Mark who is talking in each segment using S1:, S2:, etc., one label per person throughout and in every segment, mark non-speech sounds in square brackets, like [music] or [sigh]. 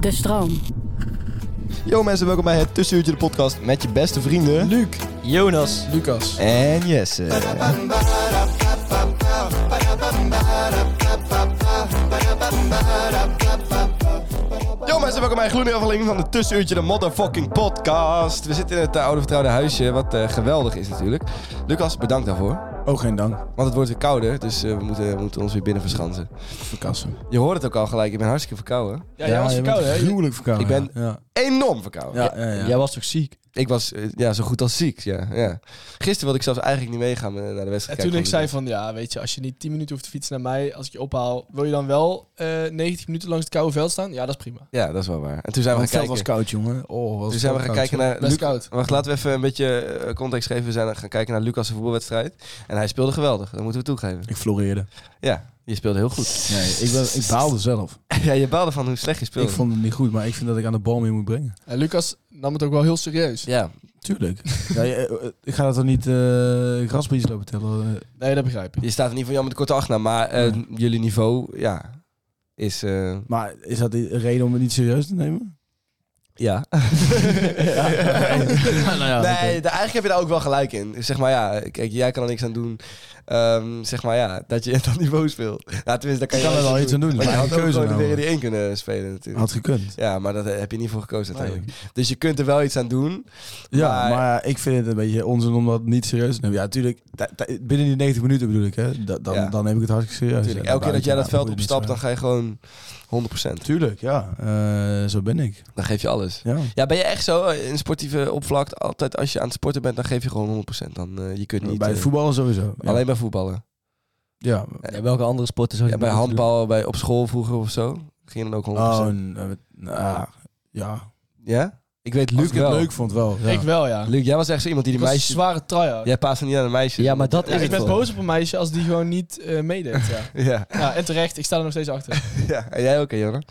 S1: De stroom.
S2: Yo mensen, welkom bij het Tussenuurtje de podcast met je beste vrienden... Luc, Jonas
S3: Lucas.
S2: en Jesse. Yo mensen, welkom bij een gloedende aflevering van het Tussenuurtje de motherfucking podcast. We zitten in het eh, oude vertrouwde huisje, wat eh, geweldig is natuurlijk. Lucas, bedankt daarvoor.
S3: Oh, geen dank.
S2: Want het wordt weer kouder, dus eh, we, moeten, we moeten ons weer binnen verschansen.
S3: Verkassen.
S2: Je hoort het ook al gelijk, ik ben hartstikke verkouden.
S3: Ja, jij was verkouden, hè? Gruwelijk verkouden.
S2: Ik ben-
S3: Ja,
S2: Enorm verkouden.
S3: ja, ja. ja.
S4: Jij was toch ziek?
S2: Ik was eh, ja, zo goed als ziek, ja, ja. Gisteren wilde ik zelfs eigenlijk niet meegaan eh, naar de
S4: En
S2: wedstrijd.
S4: toen ik
S2: kijken
S4: zei van, ja, weet je, als je niet 10 minuten hoeft te fietsen naar mij, als ik je ophaal, wil je dan wel eh 90 minuten langs het koude veld staan? Ja, dat is prima.
S2: Ja, dat is wel waar. En toen zijn we
S3: Het
S2: gaan
S3: veld
S2: kijken...
S3: was koud, jongen. Oh, was
S2: toen zijn we gaan kijken naar...
S4: Best
S2: Luc-
S4: koud.
S2: Wacht, laten we even een beetje eh, context geven. We zijn gaan kijken naar Lucas' voetbalwedstrijd. En hij speelde geweldig, dat moeten we toegeven.
S3: Ik floreerde.
S2: Ja, je speelde heel goed. [laughs]
S3: Nee, ik, ben, ik baalde zelf.
S2: ja, je baalde van hoe slecht je speelde.
S3: Ik vond het niet goed, maar ik vind dat ik aan de bal mee moet brengen.
S4: En Lucas nam het ook wel heel serieus.
S2: Ja,
S3: Tuurlijk. ja, je- eh, eh, ik ga dat dan niet eh grasprietjes lopen tellen. eh.
S4: [laughs] Nee, dat begrijp ik.
S2: je staat in ieder geval jammer de korte acht na. Maar eh,
S3: Nee.
S2: jullie niveau, ja, is... eh,
S3: Maar is dat een reden om het niet serieus te nemen? [laughs]
S2: ja. Nee, daar- eigenlijk heb je daar ook wel gelijk in. Zeg maar ja, kijk, jij kan er niks aan doen. Ehm, zeg maar ja, dat je [laughs] dat niveau speelt. Nou, tenminste, daar kan
S3: Ik
S2: je
S3: kan er wel iets aan doen.
S2: Maar je
S3: Maar
S2: had
S3: had
S2: ook
S3: keuze
S2: gewoon de
S3: nou.
S2: die 1 kunnen spelen natuurlijk.
S3: Had gekund.
S2: Ja, maar daar heb je niet voor gekozen uiteindelijk. Dus je kunt er wel iets aan doen.
S3: Ja,
S2: Maar-
S3: dus maar ik vind het een beetje onzin om dat niet serieus te nemen. Ja, tuurlijk. da- da- Binnen die 90 minuten bedoel ik, hè. Da- Dan,
S2: Ja.
S3: dan neem ik het hartstikke serieus.
S2: Natuurlijk.
S3: Ja,
S2: Elke keer dat jij
S3: buiten,
S2: dat
S3: nou,
S2: veld
S3: moet je
S2: opstapt,
S3: niet
S2: dan ga je gewoon 100%.
S3: Tuurlijk, ja. Eh, zo ben ik.
S2: Dan geef je alles.
S3: Ja.
S2: Ja, ben je echt zo eh, in sportieve opvlak? Altijd als je aan het sporten bent, dan geef je gewoon 100%. Dan, eh, je kunt niet...
S3: bij
S2: eh,
S3: het voetballen sowieso. Ja.
S2: Alleen bij voetballen.
S3: ja.
S2: Ja,
S5: welke andere sporten zou
S2: Ja, bij handbal, bij, op school vroeger of zo. Ging je dan ook 100%.
S3: Oh, n- eh, nou, ja.
S2: Ja? Ik weet
S3: Als
S2: Luc
S3: ik het
S2: wel.
S3: leuk vond wel. Ja.
S4: Ik wel, ja.
S2: Luc, jij was echt zo iemand die
S4: Ik
S2: die
S4: was een
S2: meisjes...
S4: zware try-out.
S2: Jij paast niet aan een meisje.
S5: Ja, maar dat
S4: Ja,
S5: is
S4: ik
S5: het
S4: ben
S5: wel.
S4: boos op een meisje als die gewoon niet eh, meedeed. Ja.
S2: Ja, [laughs]
S4: ja, en terecht. Ik sta er nog steeds achter.
S2: ja. En jij ook, hè, Jonne?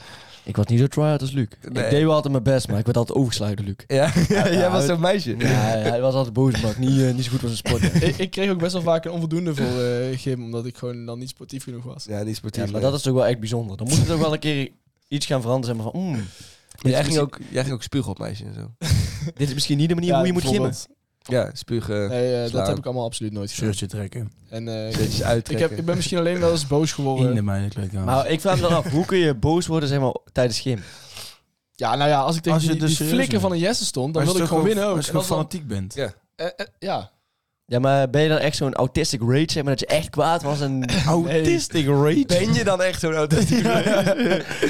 S5: Ik was niet zo try-out als Luc.
S2: Nee.
S5: Ik deed wel altijd mijn best, maar ik werd altijd overgeslagen door Luc.
S2: Ja, [laughs] jij
S5: ja,
S2: was
S5: het-
S2: zo'n meisje.
S5: Ja, ja, hij was altijd boos, omdat ik niet, eh, niet zo goed was in sporten.
S4: ik, ik kreeg ook best wel vaak een onvoldoende voor eh Gym, omdat ik gewoon dan niet sportief genoeg
S2: [laughs]
S4: was.
S2: Ja, niet
S5: Ja,
S2: sportief.
S5: maar
S2: nee.
S5: dat is toch wel echt bijzonder. Dan moet het ook wel een keer iets gaan veranderen. Zeg maar van, mm,
S2: Maar jij, ging ook, jij ging ook spugen op meisjes en zo.
S5: dit is misschien niet de manier
S4: Ja,
S5: hoe je moet gimmen.
S4: bijvoorbeeld.
S2: Ja, spugen,
S4: Nee, eh,
S2: Slaan.
S4: dat heb ik allemaal absoluut nooit gedaan.
S3: Shirtje trekken.
S4: En eh,
S2: beetjes
S4: ik,
S2: uittrekken.
S4: heb, ik ben misschien alleen wel eens boos geworden.
S3: In de meidenkleur.
S5: Maar ik vraag me dan af, hoe kun je boos worden zeg maar, tijdens gym?
S4: Ja, nou ja, als ik tegen
S3: Als je
S4: die,
S3: dus
S4: die
S3: serieus
S4: flikker van
S3: bent.
S4: een Jesse stond, dan wilde ik gewoon winnen ook.
S3: Als je
S4: En
S3: gewoon
S4: dat was
S3: fanatiek bent.
S2: Ja.
S4: dan- eh, eh, ja.
S5: Ja, maar ben je dan echt zo'n autistic rage, zeg maar, dat je echt kwaad was? En
S3: Autistic rage.
S2: [laughs] Ben je dan echt zo'n autistische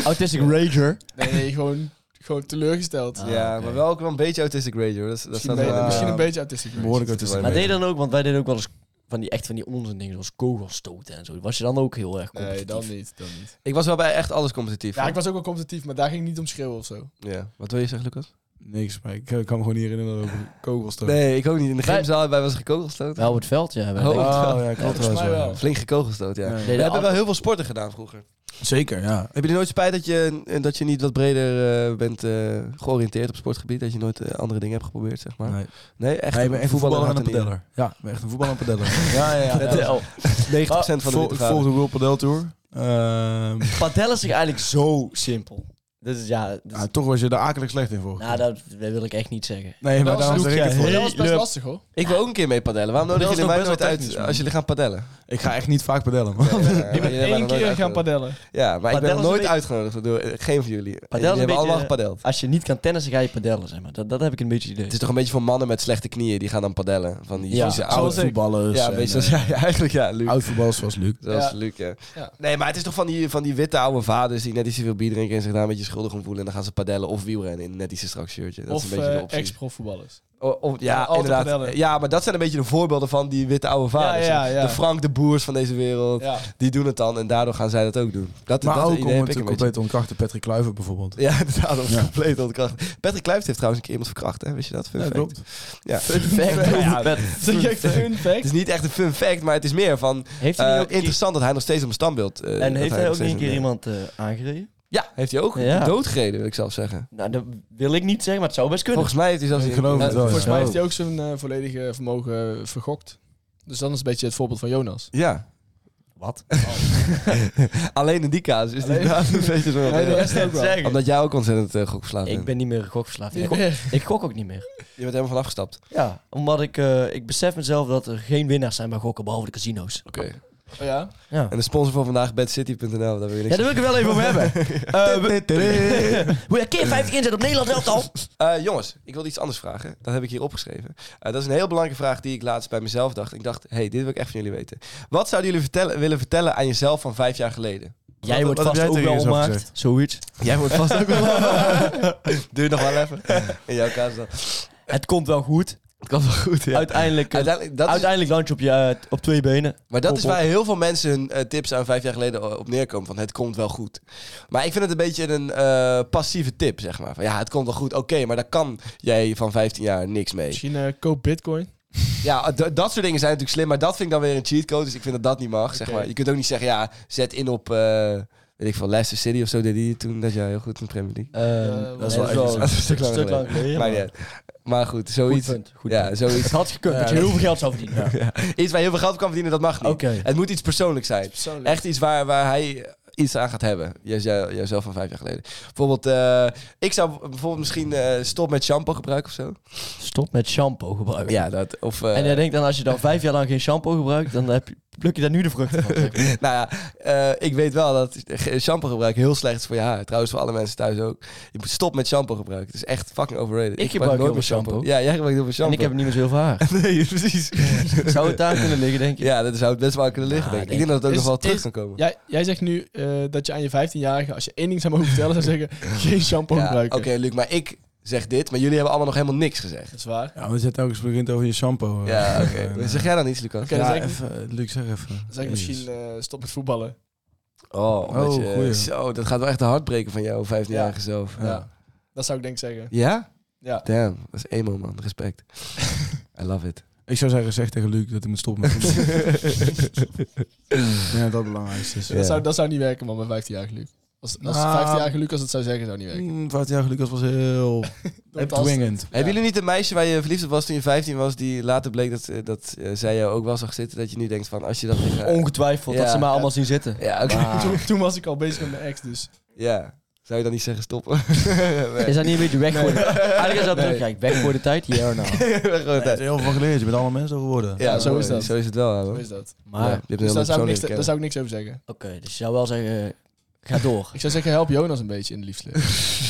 S5: autistic rager?
S4: Nee, nee, gewoon, gewoon teleurgesteld.
S5: Ah,
S2: Ja, maar wel ook wel een beetje autistic rage hoor. Dat, dat
S4: Misschien,
S2: staat
S4: ben je-
S2: wel- eh,
S4: misschien een beetje autistic.
S3: Behoorlijk autistic.
S5: Maar
S2: Nee.
S5: deed je dan ook, want wij deden ook wel eens van die, echt van die onzin dingen, zoals kogelstoten en zo. Was je dan ook heel erg
S4: Nee,
S5: competitief?
S4: dan niet, dan niet.
S2: Ik was wel bij echt alles competitief.
S4: Ja,
S2: hoor.
S4: ik was ook wel competitief, maar daar ging ik niet om schreeuwen of zo.
S2: Ja. Wat wil je zeggen, Lucas?
S3: Niks, maar ik eh, kan me gewoon niet herinneren over kogels toch?
S2: Nee, ik ook niet. In de
S5: Wij-
S2: gymzaal hebben wij was gekogelstoot.
S5: Wel op het veld, ja. Wij
S2: Oh.
S3: Oh,
S5: deden-
S3: ja, klopt
S4: volgens
S3: trouwens
S4: mij
S3: wel.
S4: wel.
S2: Flink gekogelstoot, ja.
S3: Ja.
S2: We
S5: de
S2: hebben
S5: al-
S2: wel heel veel sporten gedaan vroeger.
S3: Zeker, ja.
S2: Heb je er nooit spijt dat je, eh, dat je niet wat breder eh, bent eh, georiënteerd op sportgebied? Dat je nooit eh, andere dingen hebt geprobeerd, zeg maar?
S3: Nee.
S2: Nee, echt.
S3: Nee, ik ben echt een voetballer en een
S2: hart en nieren.
S3: pedeller. Ja, ik ben echt een voetballer en pedeller. ja, ja,
S2: [laughs]
S3: ja.
S5: Ja, de- oh.
S2: 90% van de
S3: Vol-
S2: witte
S3: Ik
S2: vader.
S3: volg de World Padel Tour. Ehm,
S5: Padel is toch eigenlijk zo simpel. Dat is ja. dat is-
S2: Ah,
S3: ja, nou, toch was je daar akelig slecht in voor.
S5: nou, dat, dat wil ik echt niet zeggen.
S2: Eh,
S3: nee, maar
S4: dat
S3: daarom
S4: was,
S3: zeg ik het
S4: dat
S3: voor.
S4: was best lastig hoor.
S2: Ik wil ook een keer mee padellen. Waarom
S3: Dat
S2: nodig
S3: is
S2: jullie
S3: nog
S2: mij nooit
S3: best wel
S2: uit
S3: technisch,
S2: als
S3: man.
S2: jullie gaan padellen?
S3: Ik ga echt niet vaak padellen. man.
S4: Ik ben één keer gaan padellen.
S2: Ja, maar ik ben nog
S5: Padel is een
S2: nooit
S5: beetje-
S2: uitgenodigd door eh, geen van jullie.
S5: is
S2: jullie
S5: een
S2: hebben allemaal
S5: beetje- Ah.
S2: gepadeld.
S5: Als je niet kan tennissen, ga je padellen, zeg maar. Dat, dat heb ik een beetje idee.
S2: Het is toch een beetje voor mannen met slechte knieën, die gaan dan padellen. Van die
S5: Ja,
S2: vieze
S3: Oud
S2: oude...
S3: voetballers.
S2: Ja,
S3: en,
S2: een beetje zoals [laughs]
S3: eh,
S2: jij eigenlijk, ja, Luc.
S3: Oud voetballers zoals Luc.
S2: Zoals
S4: Ja.
S2: Luc, ja.
S4: Ja.
S2: Nee, maar het is toch van die, van die witte oude vaders die net iets te veel bier drinken en zich daar een beetje schuldig om voelen. En dan gaan ze padellen of wielrennen in net iets te strak shirtje. Dat is
S4: Of
S2: een beetje de
S4: eh
S2: optie.
S4: ex-profvoetballers.
S2: O- of-
S4: Ja,
S2: ja,
S4: altijd
S2: inderdaad.
S4: padellen.
S2: Ja, maar dat zijn een beetje de voorbeelden van die witte oude vaders.
S4: Ja, ja,
S2: hè.
S4: ja.
S2: De Frank de Boers van deze wereld.
S4: Ja.
S2: Die doen het dan en daardoor gaan zij dat ook doen. Dat,
S3: Maar
S2: dat
S3: ook
S2: idee
S3: om
S2: heb
S3: het
S2: ik een
S3: compleet te ontkrachten. Patrick Kluivert bijvoorbeeld.
S2: beetje. Ja, inderdaad, om het compleet ontkracht. Patrick Kluivert heeft trouwens een keer iemand verkracht, hè? Wist je dat? Fun fact. Ja. Fun
S5: [laughs] fact.
S2: [laughs] Ja,
S5: Fun
S4: Zeg je echt fun
S2: Het
S4: fact?
S2: is niet echt een fun fact, maar het is meer van...
S5: Heeft hij
S2: eh,
S5: niet ook een keer-
S2: interessant dat hij nog steeds op mijn standbeeld... eh,
S5: En
S2: dat
S5: heeft hij
S2: nog
S5: ook
S2: steeds
S5: een keer
S2: op-
S5: iemand eh, aangereden?
S2: Ja, heeft hij ook
S5: Ja.
S2: doodgereden, wil ik zelf zeggen.
S5: Nou, dat wil ik niet zeggen, maar het zou best kunnen.
S2: Volgens mij heeft hij zelfs...
S3: Ik geloof het wel,
S2: volgens
S3: ja.
S2: mij
S4: Maar
S2: heeft
S4: heeft hij ook zijn eh, volledige vermogen eh, vergokt? Dus dan is het een beetje het voorbeeld van Jonas.
S2: hij- Ja.
S5: Wat?
S2: Alleen in die casus is die
S4: Alleen-
S2: naam een beetje
S5: [laughs]
S2: zo...
S4: Nee, de rest ook wel.
S5: Zeggen.
S2: Omdat jij ook ontzettend eh gokverslaafd bent.
S5: Ik ben niet meer gokverslaafd.
S4: Ja.
S5: Ik gok, ik gok ook niet meer.
S2: Je bent helemaal van afgestapt.
S5: Ja, omdat ik, eh, ik besef mezelf dat er geen winnaars zijn bij gokken, behalve de casino's.
S2: Oké.
S4: [laughs] Oh ja?
S5: Ja.
S2: En de sponsor van vandaag, bedcity.nl, daar wil je
S5: Ja,
S2: niks
S5: daar wil ik het wel even over
S2: [laughs]
S5: hebben. Eh, we- Hoe je een keer 50 inzet op Nederland elftal.
S2: Eh, jongens, ik wilde iets anders vragen. Dat heb ik hier opgeschreven. Eh, dat is een heel belangrijke vraag die ik laatst bij mezelf dacht. Ik dacht, hey, dit wil ik echt van jullie weten. Wat zouden jullie vertellen, willen vertellen aan jezelf van vijf jaar geleden?
S5: Jij wordt
S3: wat heb
S5: vast
S3: jij
S5: ook
S3: tegen
S5: wel
S3: jezelf
S5: onmaakt.
S3: gezegd?
S5: Zoiets.
S2: Jij wordt vast [laughs] ook wel... Duur nog wel [laughs] even. In jouw kaas dan.
S5: Het komt wel goed.
S2: Het kwam wel goed, ja.
S5: Uiteindelijk, eh,
S2: Uiteindelijk, dat is-
S5: uiteindelijk land je op, je, eh, op twee benen.
S2: maar dat is
S5: Op- op-
S2: waar heel veel mensen hun eh, tips aan vijf jaar geleden o- op neerkomen. Van het komt wel goed. Maar ik vind het een beetje een eh, passieve tip, zeg maar. Van, ja, het komt wel goed, oké. maar daar kan jij van 15 jaar niks mee.
S4: Misschien eh, koop bitcoin.
S2: Ja, d- dat soort dingen zijn natuurlijk slim, maar dat vind ik dan weer een cheatcode. Dus ik vind dat dat niet mag, zeg maar. Je kunt ook niet zeggen, ja, zet in op, eh, weet ik veel, Leicester City of zo deed die toen. Dat jij heel goed in de Premier League.
S5: Ehm,
S3: dat is
S5: nee,
S3: wel echt
S2: Dat is een stuk lang
S5: stuk
S2: geleden.
S5: lang geleden,
S2: maar,
S5: maar-
S2: maar goed, zoiets.
S5: Goed punt, goed
S2: ja,
S5: punt.
S2: zoiets.
S5: Het had gekund dat je heel veel geld zou verdienen.
S2: Iets waar je heel veel geld op kan verdienen, dat mag niet.
S5: Oké.
S2: Het moet iets persoonlijks zijn.
S4: Persoonlijk.
S2: Echt iets waar, waar hij iets aan gaat hebben. Jij- jij- Jijzelf van vijf jaar geleden. Bijvoorbeeld, eh, ik zou bijvoorbeeld misschien eh, stop met shampoo gebruiken of zo.
S5: Stop met shampoo gebruiken.
S2: Ja, dat. Of, eh,
S5: En jij denkt dan, als je dan vijf jaar lang geen shampoo gebruikt, dan heb je, pluk je daar nu de vruchten van. zeg maar.
S2: [laughs] Nou ja, eh, ik weet wel dat ge- shampoo gebruiken heel slecht is voor je haar. Trouwens, voor alle mensen thuis ook. Je moet stop met shampoo gebruiken. Het is echt fucking overrated.
S5: Ik gebruik heel veel shampoo.
S2: Ja, jij gebruikt heel veel
S5: En
S2: shampoo.
S5: ik heb niet meer zoveel
S2: [laughs]
S5: haar.
S2: Nee,
S5: [laughs]
S2: precies.
S5: Zou het daar kunnen liggen, denk je?
S2: Ja, dat zou het best wel aan kunnen liggen.
S5: Ja,
S2: denk ik. ik denk dat het ook
S4: Is-
S2: nog wel terug
S4: is-
S2: kan komen.
S4: Jij, jij zegt nu eh, dat je aan je 15-jarige, als je één ding zou mogen vertellen, zou zeggen: [laughs] geen shampoo
S2: Ja, Oké,
S4: gebruiken.
S2: Luc, maar ik zeg dit, maar jullie hebben allemaal nog helemaal niks gezegd.
S4: Dat is waar.
S3: Ja, want je telkens begint over je shampoo. eh. [laughs]
S2: Ja, oké.
S3: Eh,
S2: Zeg jij dan iets, Lucas?
S4: Oké,
S3: ja,
S4: dan zeg ik,
S3: even, eh, Luc, zeg even.
S4: dan zeg ik
S3: Jezus.
S4: misschien eh, stop met voetballen.
S2: Oh, omdat
S3: Oh,
S2: je-
S3: goeie.
S2: zo, dat gaat wel echt de hartbreken van jou, 15-jarige zelf.
S4: Ja. Dat zou ik denk ik zeggen.
S2: Ja?
S4: Ja.
S2: Damn, dat is emo, man.
S4: [laughs]
S2: Respect. I love it.
S3: Ik zou zeggen, zeg tegen Luc dat hij moet stoppen met voetbal.
S2: [laughs]
S3: Ik denk dat dat het belangrijkste is. eh,
S2: Ja.
S4: Dat, zou, dat zou niet werken, man, bij 15-jarige Luc. Als, als
S3: Nou.
S4: 15-jarige Lucas het zou zeggen, zou niet werken.
S3: Mm, 15 jaar Lucas
S2: [laughs]
S3: was heel
S4: het
S3: dwingend.
S2: Hebben jullie niet een meisje waar je verliefd op was toen je 15 was, die later bleek dat, eh, dat eh, zij jou ook wel zag zitten, dat je nu denkt van als je dat tegen haar-
S5: Ongetwijfeld, dat
S2: Ja.
S5: ze mij allemaal zien zitten.
S2: Ja, oké.
S4: [laughs] Toen, toen was ik al bezig met mijn ex, dus.
S2: [laughs] ja, zou je dan niet zeggen stoppen? [laughs]
S4: [laughs]
S5: Is dat niet een beetje weggooien? Eigenlijk is dat
S2: Nee.
S5: terugkijk. Weg voor de tijd, hier nou.
S2: Gewoon
S3: Er is
S2: tijd.
S3: heel veel geleerd. Je bent allemaal mensen geworden.
S2: Ja,
S4: zo is dat.
S2: Zo is het wel.
S4: Zo
S2: hoor.
S4: is dat.
S2: Ja,
S5: Maar,
S2: je hebt een
S4: Dus
S2: heel
S4: daar
S2: leuk
S4: zou, ik
S2: persoon
S4: niks, daar
S2: leren
S4: zou ik niks over zeggen.
S5: oké, dus je zou wel zeggen, ga door.
S4: Ik zou zeggen, help Jonas een beetje in de [laughs] liefde.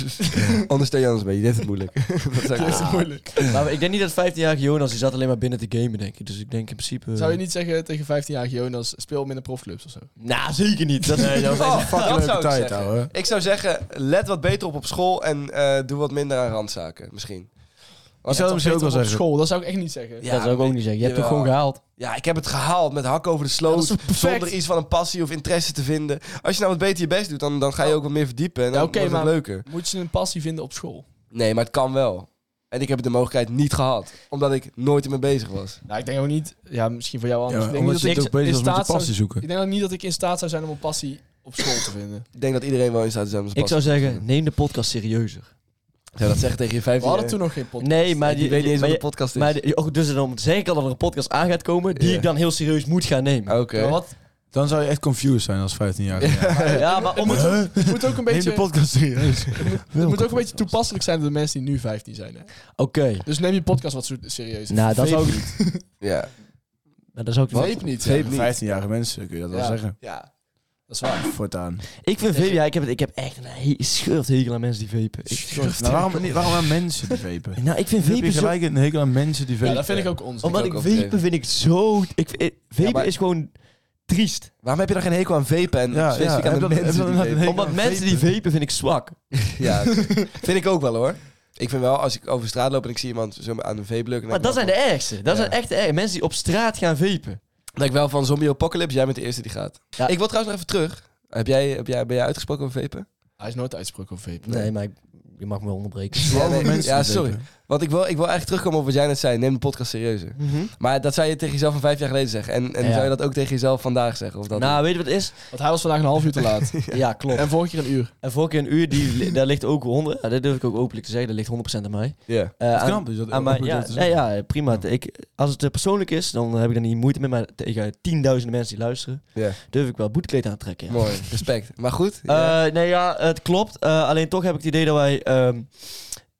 S2: kennen. Ondersteun je anders een beetje, dit is het moeilijk. [laughs] dat zou ik
S4: [laughs] Dat is moeilijk.
S5: Maar ik denk niet dat 15-jarige Jonas, die zat alleen maar binnen te gamen, denk ik. Dus ik denk in principe...
S4: Zou je niet zeggen tegen 15-jarige Jonas, speel minder profclubs of zo?
S5: Nou, zeker niet. Dat,
S3: Dat was echt een
S2: Oh, dat zou
S3: fucking leuke
S2: ik
S3: tijd,
S2: zeggen.
S3: ouwe.
S2: Ik zou zeggen, let wat beter op op school en eh, doe wat minder aan randzaken, misschien.
S3: Ik zou het misschien ook wel
S4: Op
S3: zeggen.
S4: school, dat zou ik echt niet zeggen.
S2: Ja,
S5: dat zou ik ook niet zeggen. Je hebt het
S2: jawel.
S5: gewoon gehaald.
S2: Ja, ik heb het gehaald met hak over de sloot.
S4: Ja, dat is perfect.
S2: zonder iets van een passie of interesse te vinden. Als je nou wat beter je best doet, dan, dan ga je ook wat meer verdiepen. En dan
S4: Ja, oké,
S2: wordt het
S4: maar-
S2: leuker.
S4: Moet je een passie vinden op school?
S2: Nee, maar het kan wel. En ik heb de mogelijkheid niet gehad. Omdat ik nooit ermee bezig was.
S4: Nou, ik denk ook niet. Ja, misschien voor jou
S3: Ja,
S4: anders. ik, denk
S3: omdat
S4: niet
S3: je
S4: dat ik,
S3: ook bezig
S4: in
S3: was met je
S4: staat zou-
S3: passie zoeken.
S4: ik denk ook niet dat ik in staat zou zijn om een passie op school te
S3: [laughs]
S4: vinden.
S2: Ik denk dat iedereen wel in staat is om zijn
S5: Ik zou
S2: passie te
S5: zeggen, neem de podcast serieuzer.
S2: vinden. Zou je dat zeggen tegen je
S4: We
S2: 15
S4: hadden toen nog geen podcast.
S5: Nee, maar
S2: die, weet niet eens
S5: maar
S2: wat een
S5: je-
S2: podcast is.
S5: maar de- oh, dus dan zeg ik al dat er een podcast aan gaat komen die
S2: Ja.
S5: ik dan heel serieus moet gaan nemen.
S2: Oké.
S4: Maar wat,
S3: Dan zou je echt confused zijn als 15 jaar.
S5: Ja, maar om het...
S4: het moet ook een beetje, het
S3: podcast serieus.
S4: moet ook een beetje toepasselijk zijn voor de mensen die nu 15 zijn. Hè?
S5: Oké.
S4: Dus neem je podcast wat zo- serieus.
S5: Nou,
S4: Vape
S5: dat zou ik
S4: niet.
S2: Ja.
S5: Maar dat zou ik
S4: Vape niet.
S2: Vape
S4: ja.
S2: niet.
S3: 15-jarige mensen kun je dat wel
S4: Ja.
S3: zeggen.
S2: Ja.
S4: Dat is waar.
S3: Voortaan.
S5: Ik vind vape, ja, ik heb, het, ik heb echt een he schurft hekel aan mensen die vapen. Ik,
S3: Nou, [laughs] waarom, niet, waarom aan mensen die vapen?
S5: nou, ik vind
S3: Heb je
S5: vapen zo...
S3: gelijk een hekel aan mensen die
S4: Ja,
S3: vapen?
S4: dat vind ik ook onzin.
S5: Omdat
S2: ook
S5: ik
S2: overdreven.
S5: vapen vind ik zo... Ik, ik- vapen
S2: maar-
S5: is gewoon triest.
S2: Waarom heb je daar geen hekel aan vapen en
S3: Ja,
S2: specifiek
S3: ja,
S2: aan
S3: heb
S2: de
S3: je dat-
S2: mensen
S3: heb
S2: die
S3: je dat-
S2: vapen?
S3: Hekel
S5: Omdat
S3: aan
S5: mensen die vapen vind ik zwak. [laughs]
S2: Ja, oké. vind ik ook wel hoor. Ik vind wel, als ik over straat loop en ik zie iemand zo aan een vape lukken...
S5: Maar dat zijn de ergste. Dat
S2: Ja.
S5: zijn echt de ergste. Mensen die op straat gaan vapen.
S2: Denk wel van zombie apocalypse, jij bent de eerste die gaat.
S5: Ja.
S2: Ik wil trouwens nog even terug. Heb jij, heb jij, ben jij uitgesproken over vapen?
S4: Hij is nooit uitsproken over vape.
S5: Nee, maar ik- je mag me wel [laughs] onderbreken.
S2: Ja,
S3: Waarom
S2: nee,
S3: mensen
S2: ja,
S3: die
S2: sorry.
S3: vapen?
S2: Want ik wil, ik wil eigenlijk terugkomen op wat jij net zei. Neem de podcast serieuzer.
S5: Mhm.
S2: Maar dat zou je tegen jezelf van vijf jaar geleden zeggen. En, en
S5: Ja.
S2: zou je dat ook tegen jezelf vandaag zeggen? Of dat
S5: Nou, weet je wat het is?
S4: Want hij was vandaag een half uur te laat.
S5: [laughs] Ja, klopt.
S4: en vorige keer een uur.
S5: En vorige keer een uur, die, li- daar ligt ook 100... Ja, dat durf ik ook openlijk te zeggen. Dat ligt 100% aan mij.
S2: Ja.
S5: Eh,
S3: Het
S5: aan-
S3: knap is dat
S5: aan
S3: ook
S5: mij-
S3: goed
S5: ja,
S3: dat te
S5: nee,
S3: zeggen.
S5: ja, prima. Ik, als het eh, persoonlijk is, dan heb ik er niet moeite mee. Maar tegen tienduizenden mensen die luisteren,
S2: Ja.
S5: durf ik wel boetekleed aan te trekken. ja.
S2: Mooi, respect. Maar goed.
S5: Eh,
S2: ja.
S5: nee, ja, het klopt. Eh, alleen toch heb ik het idee dat wij ehm,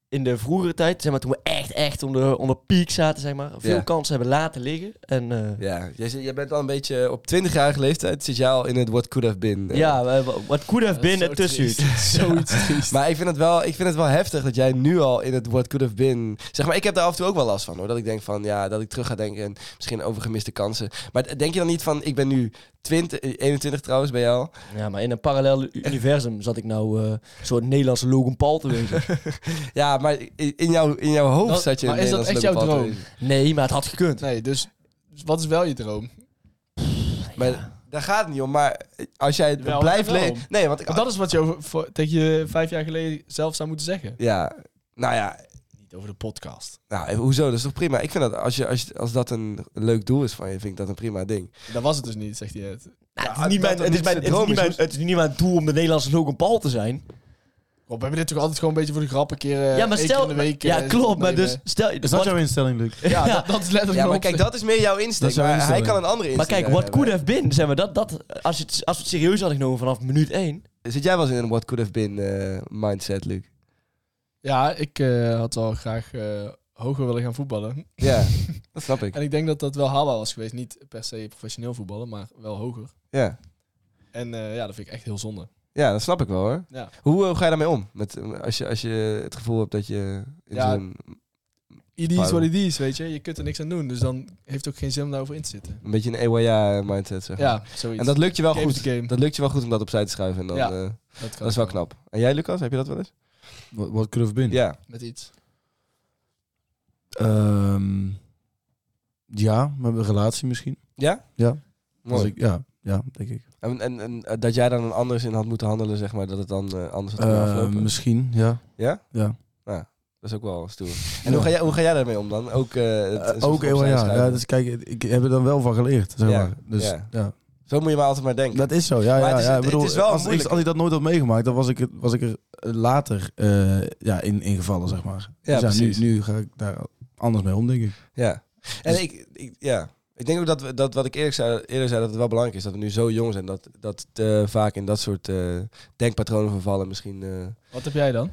S5: in de vroegere tijd, zeg maar, toen we echt, echt onder, onder piek zaten, zeg maar, veel
S2: Ja.
S5: kansen hebben laten liggen. En eh,
S2: ja. Jij, zit- jij bent al een beetje op 20-jarige leeftijd. Zit jij al in het what could have been. eh.
S5: ja, eh, wa- wat could have been,
S4: Dat
S5: het
S4: is zo
S5: tussen.
S4: triest. [laughs] Zoiets triest.
S2: Maar ik vind, het wel, ik vind het wel heftig dat jij nu al in het what could have been... Zeg maar, ik heb daar af en toe ook wel last van hoor. Dat ik denk van, ja, dat ik terug ga denken en misschien over gemiste kansen. Maar d- denk je dan niet van, ik ben nu 20, eh, 21 trouwens bij jou.
S5: Ja, maar in een parallel u- universum zat ik nou eh, een soort Nederlandse Logan Paul te
S2: [laughs]
S5: wezen.
S2: Ja, maar i- in, jouw, in jouw hoofd
S4: Dat-
S2: zat je...
S4: maar
S2: een
S4: is dat
S2: Nederlands
S4: echt
S2: Logan
S4: jouw
S2: Paul te
S4: droom?
S2: lezen.
S5: Nee, maar het had gekund.
S2: Nou,
S4: Nee, dus wat is wel je droom?
S2: Maar daar gaat het niet om. Maar als jij het
S4: Wel,
S2: blijft
S4: wel.
S2: leven... Nee, want ik...
S4: Want dat is wat je over, voor- tegen je vijf jaar geleden zelf zou moeten zeggen.
S2: Ja, nou ja...
S4: Niet over de podcast.
S2: Nou, even- hoezo? Dat is toch prima? Ik vind dat als, je, als, je- als dat een leuk doel is van je, vind ik dat een prima ding.
S4: Dat was het dus niet, zegt hij net.
S5: Nou, het,
S2: Ja,
S5: is niet
S2: dat
S5: mijn,
S2: het
S5: het, is
S2: niet
S5: mijn,
S2: zijn
S5: het, is
S2: droom
S5: niet
S2: is,
S5: mijn, het is niet mijn doel om de Nederlandse Logan Paul te zijn.
S4: Rob, we hebben dit toch altijd gewoon een beetje voor de grap een keer, eh,
S5: ja, maar
S4: één
S5: stel...
S4: keer in de week.
S5: ja,
S4: eh,
S5: klopt, maar dus...
S4: opnemen.
S5: Stel,
S3: Is dat
S5: wat-
S3: jouw instelling, Luc?
S4: Ja, dat, dat is letterlijk
S2: Ja, maar
S4: mijn
S2: kijk,
S4: opstelling.
S2: dat is meer jouw insteek.
S3: jouw
S2: Maar hij
S3: insteek.
S2: kan een andere
S5: maar
S2: insteek
S5: kijk, what
S2: hebben.
S5: could have been, zeg maar, dat, dat, als, je het, als we het serieus hadden genomen vanaf minuut 1...
S2: Zit jij wel eens in een what could have been eh, mindset, Luc?
S4: Ja, ik eh, had al graag eh, hoger willen gaan voetballen.
S2: Ja,
S4: [laughs]
S2: dat snap ik.
S4: En ik denk dat dat wel haalbaar was geweest. Niet per se professioneel voetballen, maar wel hoger.
S2: Ja,
S4: En eh, ja, dat vind ik echt heel zonde.
S2: ja dat snap ik wel hoor.
S4: Ja.
S2: Hoe eh, ga je daarmee om? Met, eh, als, je, als je het gevoel hebt dat je in
S4: Ja.
S2: zo'n
S4: ID is wat ID is, weet je. Je kunt er niks aan doen. Dus dan heeft het ook geen zin om daarover in te zitten.
S2: een beetje een EYA mindset zeg. maar.
S4: Ja, zoiets.
S2: En dat lukt je wel
S4: Game
S2: goed.
S4: is the game.
S2: Dat lukt je wel goed om dat opzij te schuiven. En dan,
S4: Ja.
S2: eh,
S4: Dat kan
S2: dat is wel
S4: ook
S2: knap. En jij, Lucas, heb je dat wel eens?
S3: Wat wat could have been?
S2: Ja.
S4: Met iets.
S3: Ehm, ja, met mijn relatie misschien.
S2: Ja?
S3: Ja. Als
S2: Mooi.
S3: ik, ja, ja, denk ik.
S2: En, en, en eh, dat jij daar dan anders in had moeten handelen, zeg maar, dat het dan eh, anders had kunnen
S3: Eh,
S2: aflopen.
S3: misschien, ja.
S2: Ja? Nou,
S3: Ja.
S2: Dat is ook wel stoer. En
S3: Ja.
S2: hoe, ga jij, hoe ga jij daarmee om dan? Ook, eh, het-
S3: Eh,
S2: een soort
S3: ook
S2: opzij
S3: heel ja.
S2: schuiven?
S3: ja dus kijk, ik heb er dan wel van geleerd. Zeg
S2: Ja,
S3: maar. Dus
S2: ja.
S3: ja.
S2: Zo moet je maar altijd maar denken.
S3: dat is zo. Ja,
S2: Maar
S3: ja,
S2: het is-
S3: ja.
S2: het-
S3: Ik bedoel,
S2: het is wel
S3: als, ik,
S2: moeilijk.
S3: als ik dat nooit had meegemaakt, dan was ik, er- was ik er later eh, ja, in, in gevallen, zeg maar.
S2: Ja,
S3: Dus
S2: precies.
S3: nu, nu ga ik daar anders mee om, denk ik.
S2: Ja. En
S3: Dus-
S2: ik, ik, ja. ik denk ook dat, we, dat wat ik eerlijk zei, eerder zei, dat het wel belangrijk is dat we nu zo jong zijn. Dat, dat het, eh, vaak in dat soort eh, denkpatronen vervallen misschien. eh.
S4: Wat heb jij dan?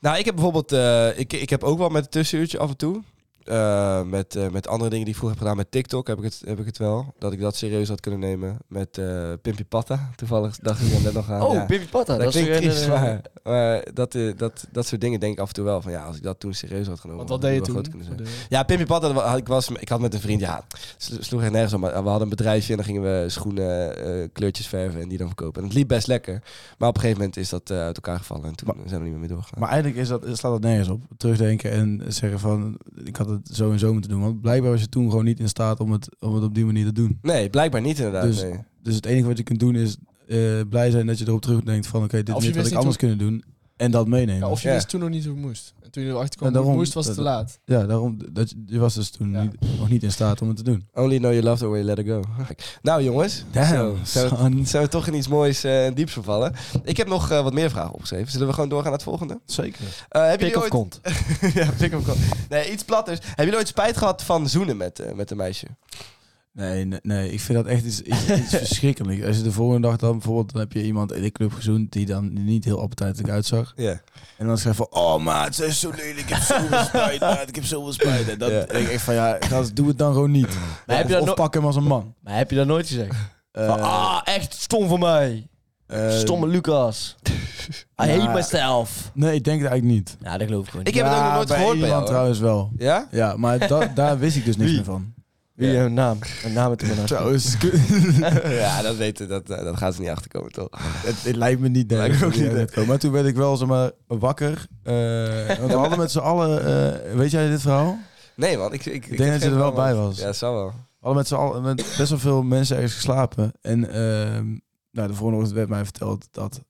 S2: Nou, ik heb bijvoorbeeld, eh, ik, ik heb ook wel met het tussenuurtje af en toe. eh, met, eh, met andere dingen die ik vroeger heb gedaan. Met TikTok heb ik het, heb ik het wel. Dat ik dat serieus had kunnen nemen. Met eh Pimpy Patta. Toevallig dacht ik er net nog aan.
S5: Oh,
S2: ja.
S5: Pippi Patta.
S2: Dat,
S5: Dat, is
S2: klinkt
S5: weer een- eh,
S2: triest, maar, maar dat, eh, dat, dat soort dingen denk ik af en toe wel. Van ja, als ik dat toen serieus had genomen.
S4: Want
S2: had
S4: wat deed je
S2: het wel
S4: toen?
S2: groot kunnen zijn.
S4: Voor de-
S2: Ja, Pimpie Pad, dat wa- ik, was, ik had met een vriend, ja, slo- sloeg er nergens om. Maar we hadden een bedrijfje en dan gingen we schoenen, eh, kleurtjes verven en die dan verkopen. En het liep best lekker. Maar op een gegeven moment is dat eh, uit elkaar gevallen en toen
S3: Maar-
S2: zijn we niet meer mee doorgegaan.
S3: Maar eigenlijk is dat, slaat dat nergens op. Terugdenken en zeggen van, ik had het zo en zo moeten doen. Want blijkbaar was je toen gewoon niet in staat om het, om het op die manier te doen.
S2: nee, blijkbaar niet inderdaad.
S3: Dus-
S2: nee.
S3: Dus het enige wat je kunt doen is eh, blij zijn dat je erop terugdenkt van, oké, dit
S4: Ja,
S3: is
S4: of je
S3: niet wat
S4: wist niet
S3: ik anders kunnen doen. En dat meenemen.
S4: Ja, of je
S2: Ja.
S4: wist toen nog niet hoe het moest. En toen je erachter kwam
S3: Ja,
S4: hoe het
S3: daarom-
S4: moest, was het te
S3: dat-
S4: laat.
S3: Ja, daarom, dat, je- je was dus toen
S4: Ja.
S3: niet- nog niet in staat om het te doen.
S2: Only know you love the way you let it go. Nou jongens, zo, zijn, we,
S3: son.
S2: zijn we toch in iets moois eh, en dieps vervallen. Ik heb nog eh, wat meer vragen opgeschreven. Zullen we gewoon doorgaan naar het volgende?
S3: Zeker.
S2: Eh heb
S5: Pik
S2: jullie [laughs]
S5: of
S2: ooit...
S5: kont.
S2: ja, pick-up call. Nee, iets platters. Hebben jullie ooit spijt gehad van zoenen met, eh, met een meisje?
S3: Nee, nee, nee, ik vind dat echt iets, iets,
S2: [laughs]
S3: iets verschrikkelijks. Als je de volgende dag dan bijvoorbeeld, dan heb je iemand in de club gezoend die dan niet heel appetijtelijk uitzag.
S2: Ja.
S3: En dan schrijf van, oh maat, ze is zo lelijk, ik heb
S2: [laughs]
S3: zoveel spijt, maat, ik heb zoveel spijt. En dan
S2: Ja.
S3: denk ik echt van, ja, gast, doe het dan gewoon niet.
S5: Maar heb
S3: of
S5: je dat
S3: of
S5: no-
S3: pak hem als een man.
S5: [laughs] Maar heb je dat nooit gezegd?
S3: Eh,
S5: Van, ah, echt stom van mij.
S3: eh,
S5: Stomme [laughs] Lucas. I
S3: Nou,
S5: hate myself.
S3: Nee, ik denk het eigenlijk niet.
S5: Ja, dat geloof ik gewoon
S2: Ik
S5: niet.
S2: heb het ook
S3: Ja,
S2: nog nooit gehoord bij
S3: iemand
S2: jou. hoor.
S3: trouwens wel.
S2: Ja?
S3: Ja, maar da- daar wist ik dus niks
S5: Wie?
S3: meer van.
S5: Wie heeft een naam? Een naam en [laughs] toen een
S2: [laughs]
S5: naam.
S3: Trouwens,
S2: ja, dat weten, dat, eh, dat gaan ze niet achterkomen, toch?
S3: het, het lijkt me niet. Nee,
S2: Lijkt me
S3: dat
S2: ook
S3: die
S2: niet,
S3: uit komen. Maar toen werd ik wel zeg maar, wakker. eh, want we hadden met z'n allen, eh, weet jij dit verhaal?
S2: Nee, man. Ik, ik, ik
S3: denk
S2: heb
S3: dat je
S2: geen
S3: er wel
S2: plan, man.
S3: bij was.
S2: Ja, zou wel.
S3: We hadden met z'n allen met best wel veel mensen ergens geslapen. En ehm, nou, de volgende ochtend werd mij verteld dat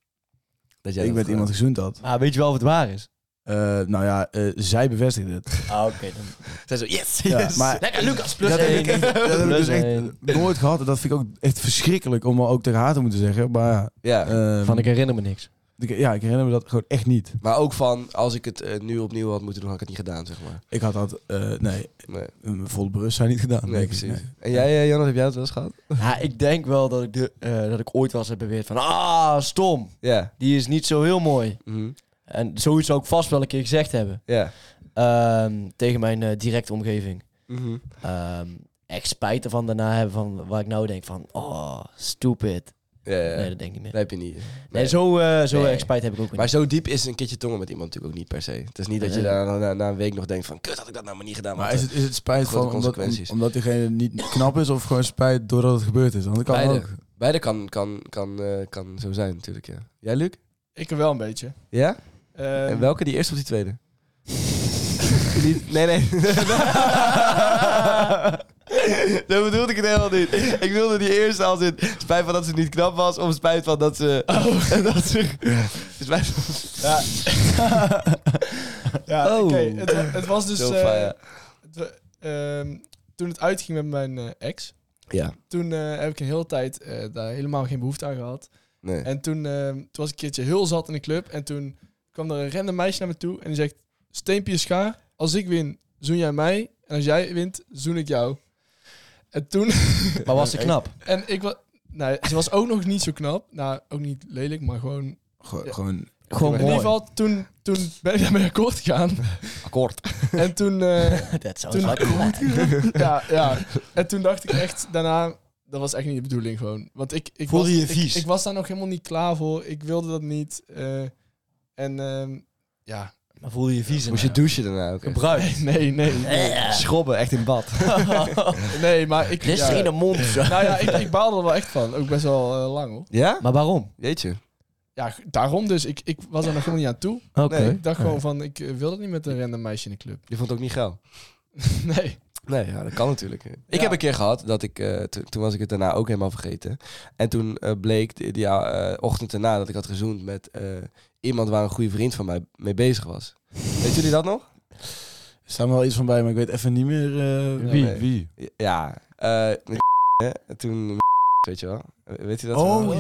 S2: Dat
S3: ik met iemand gezoend had.
S5: Maar weet je wel of het waar is?
S3: Eh, nou ja, eh, zij bevestigde het.
S5: Ah, oké. dan.
S2: Zij zo, yes,
S3: Ja,
S2: yes.
S3: maar-
S2: Lekker, Lucas,
S5: plus
S3: dat
S5: één.
S3: heb
S5: [laughs]
S3: ik, echt- dat heb ik
S5: Plus
S3: dus
S5: één.
S3: echt nooit gehad. En dat vind ik ook echt verschrikkelijk om ook tegen haar te moeten zeggen. Maar ja,
S2: Ja,
S3: ehm,
S5: Van ik herinner me niks.
S3: ik- ja, ik herinner me dat gewoon echt niet.
S2: maar ook van, als ik het eh, nu opnieuw had moeten doen, had ik het niet gedaan, zeg maar.
S3: Ik had dat, eh, nee,
S2: Nee,
S3: een volle bewustzijn niet gedaan.
S2: nee
S3: denk ik.
S2: precies.
S3: Nee.
S2: En jij, eh, Jonas, heb jij dat wel eens gehad?
S5: Ja, ik denk wel dat ik, de, eh, dat ik ooit wel eens heb beweerd van... Ah, stom.
S2: Ja.
S5: Die is niet zo heel mooi.
S2: Mhm.
S5: En zoiets zou ik vast wel een keer gezegd hebben.
S2: Ja.
S5: Ehm, tegen mijn eh, directe omgeving.
S2: Mhm.
S5: Ehm, echt spijt ervan daarna hebben van waar ik nou denk van... Oh, stupid.
S2: Ja, ja.
S5: Nee,
S2: Eh, Nee,
S5: dat denk ik niet meer.
S2: dat heb je niet.
S5: Nee, zo, eh zo
S2: Nee.
S5: erg spijt heb ik ook niet.
S2: Maar zo diep is een keertje tongen met iemand natuurlijk ook niet per se. Het is niet dat je
S5: Nee.
S2: daar na, na, na een week nog denkt van... Kut, had ik dat nou maar niet gedaan.
S3: Maar
S2: want,
S3: is het, is het spijt
S2: grote
S3: van omdat,
S2: consequenties.
S3: om- omdat diegene niet knap is of gewoon spijt doordat het gebeurd is? Want dat kan
S2: Beide.
S3: ook.
S2: eh, Beide kan, kan, kan, eh, kan zo zijn natuurlijk, ja. Jij, Luc?
S4: Ik wel een beetje.
S2: Ja?
S4: Ehm,
S2: En welke, die eerste of die [laughs] tweede? Niet- nee, nee. [laughs] Dat bedoelde ik het helemaal niet. Ik wilde die eerste als in spijt van dat ze niet knap was, of spijt van dat ze. [laughs] dat ze spijt van.
S4: Ja,
S5: [laughs]
S4: ja
S2: Oh.
S4: oké. Het, wa- het was dus...
S2: Zo
S4: eh,
S2: van, ja.
S4: het wa- ehm, toen het uitging met mijn eh, ex,
S2: Ja,
S4: toen eh, heb ik een hele tijd eh, daar helemaal geen behoefte aan gehad.
S2: Eh, nee.
S4: En toen, ehm, toen was ik een keertje heel zat in de club. En toen kwam er een random meisje naar me toe. En die zegt, Steempje Schaar, als ik win, zoen jij mij. En als jij wint, zoen ik jou. En toen... [laughs]
S5: Maar was ze knap?
S4: en ik was... Nou, ze was ook nog niet zo knap. Nou, ook niet lelijk, maar gewoon...
S3: Gewoon,
S4: Ja.
S3: gewoon
S5: Gewoon
S4: in ieder
S5: mooi.
S4: geval, toen, toen ben ik daarmee akkoord gegaan.
S2: Akkoord.
S4: En toen... eh,
S5: [laughs] Dat zou
S4: Toen-
S5: lekker
S4: [laughs] ja, ja. En toen dacht ik echt daarna, dat was echt niet de bedoeling gewoon. Want ik, ik,
S5: Voelde
S4: was,
S5: je
S4: ik-
S5: vies?
S4: Ik, was daar nog helemaal niet klaar voor. Ik wilde dat niet. eh, en ehm, ja,
S5: Maar voel je je vies
S2: Moest je douchen daarna ook? echt?
S5: [laughs] gebruikt.
S4: [laughs] nee, nee.
S2: Schrobben, echt in bad.
S4: Nee, maar ik...
S5: [laughs] Dit is
S4: ja.
S5: geen mond.
S4: Nou ja, ik, ik baalde er wel echt van. Ook best wel eh, lang hoor.
S2: Ja?
S5: Maar waarom?
S2: Jeetje.
S4: Ja, g- daarom dus. Ik, ik was er nog helemaal niet aan toe.
S5: Oké.
S2: Nee.
S4: Ik dacht gewoon van, ik eh, wil dat niet met een random meisje in de club. [laughs]
S2: Je vond het ook niet geil.
S4: Nee.
S2: Nee, ja, dat kan natuurlijk. Ik
S4: Ja.
S2: heb een keer gehad dat ik, eh, to- toen was ik het daarna ook helemaal vergeten. En toen eh, bleek die, die, eh, ochtend daarna dat ik had gezoend met eh, iemand waar een goede vriend van mij mee bezig was. Weet jullie dat nog?
S3: Er staat me wel iets van bij, maar ik weet even niet meer eh,
S2: Wie?
S3: wie.
S2: Ja, eh, met [laughs] hè, toen [laughs] met weet je wel. Weet je dat? wel?
S5: Oh,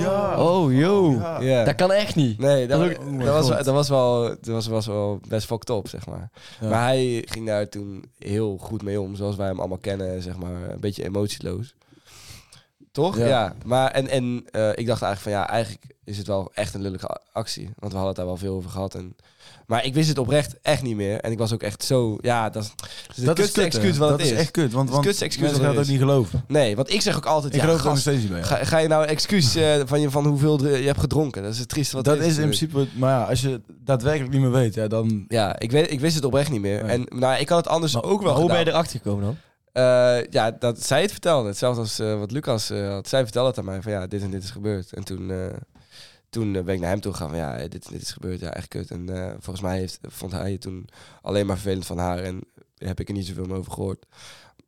S5: yo.
S3: Ja.
S2: Oh, Ja.
S5: Dat kan echt niet.
S2: Nee, dat,
S5: Dat
S2: dat,
S5: ook- Oh my
S2: was, wel-
S5: God.
S2: dat, was wel, dat was, was wel best fucked up, zeg maar.
S3: Ja.
S2: Maar hij ging daar toen heel goed mee om, zoals wij hem allemaal kennen, zeg maar. Een beetje emotieloos. Toch? Ja.
S3: Ja.
S2: Maar en, en eh, ik dacht eigenlijk van ja, eigenlijk is het wel echt een lullige a- actie. Want we hadden het daar wel veel over gehad. En, maar ik wist het oprecht echt niet meer. En ik was ook echt zo, ja, dat is, dat is het
S3: Dat is
S2: kutste
S3: kut, hè.
S2: excuus wat
S3: dat
S2: het is.
S3: is echt kut,
S2: Het
S3: want,
S2: is
S3: want
S2: kutste excuus
S3: mensen
S2: wat
S3: gaan
S2: het
S3: dat
S2: is.
S3: niet geloven.
S2: Nee, want ik zeg ook altijd,
S3: Ik
S2: ja,
S3: geloof er nog
S2: gast,
S3: steeds niet bij.
S2: ga, ga je nou een excuus eh, van, je, van hoeveel dr- je hebt gedronken? Dat is het trieste wat
S3: Dat
S2: er
S3: is in
S2: natuurlijk.
S3: principe, het- maar ja, als je daadwerkelijk niet meer weet, ja, dan...
S2: Ja, ik, weet, ik wist het oprecht niet meer.
S3: Nee.
S2: En nou, ik had het anders ook wel
S5: Hoe ben
S2: gedaan.
S5: je erachter gekomen dan?
S2: Eh, ja, dat zij het vertelde. Hetzelfde als eh, wat Lucas eh, had. Zij vertelde het aan mij van ja, dit en dit is gebeurd. En toen, eh, toen eh, ben ik naar hem toe gegaan van ja, dit en dit is gebeurd. Ja, echt kut. En eh, volgens mij heeft, vond hij het toen alleen maar vervelend van haar. En heb ik er niet zoveel meer over gehoord.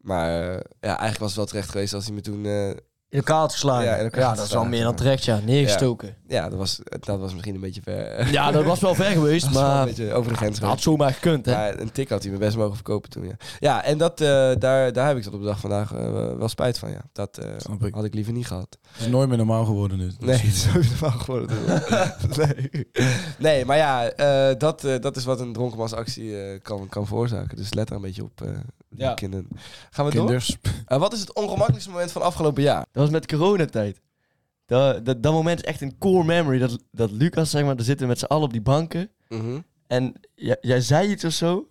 S2: Maar eh, ja, eigenlijk was het wel terecht geweest als hij me toen... eh,
S5: In elkaar had geslagen.
S2: Ja,
S5: Ja,
S2: in elkaar had
S5: dat is wel
S2: geslagen.
S5: meer dan terecht, ja. Neergestoken.
S2: ja, dat was, dat was misschien een beetje ver.
S5: [laughs] Ja, dat
S2: [laughs]
S5: was wel ver geweest,
S2: Dat was wel een
S5: maar
S2: beetje over de grens. geweest.
S5: had zomaar gekund, hè.
S2: Ja, een tik had hij me best mogen verkopen toen, ja. Ja, en dat, eh, daar, daar heb ik tot op de dag vandaag eh, wel spijt van, ja. Dat eh,
S3: Snap ik.
S2: had ik liever niet gehad.
S3: Het is nooit meer normaal geworden nu.
S2: Nee, [laughs] het is ook normaal geworden.
S3: [laughs]
S2: nee. nee, maar ja, eh, dat, eh, dat is wat een dronkenmansactie eh, kan, kan veroorzaken. Dus let er een beetje op. eh, Die
S4: Ja.
S2: kinderen. Gaan we door?
S3: Kinders.
S2: Eh, wat is het ongemakkelijkste moment van afgelopen jaar?
S5: Dat was met coronatijd. Dat, dat, dat moment is echt een core memory. Dat, dat Lucas, zeg maar, daar zitten we met z'n allen op die banken.
S3: Mhm.
S5: En jij, jij zei iets of zo.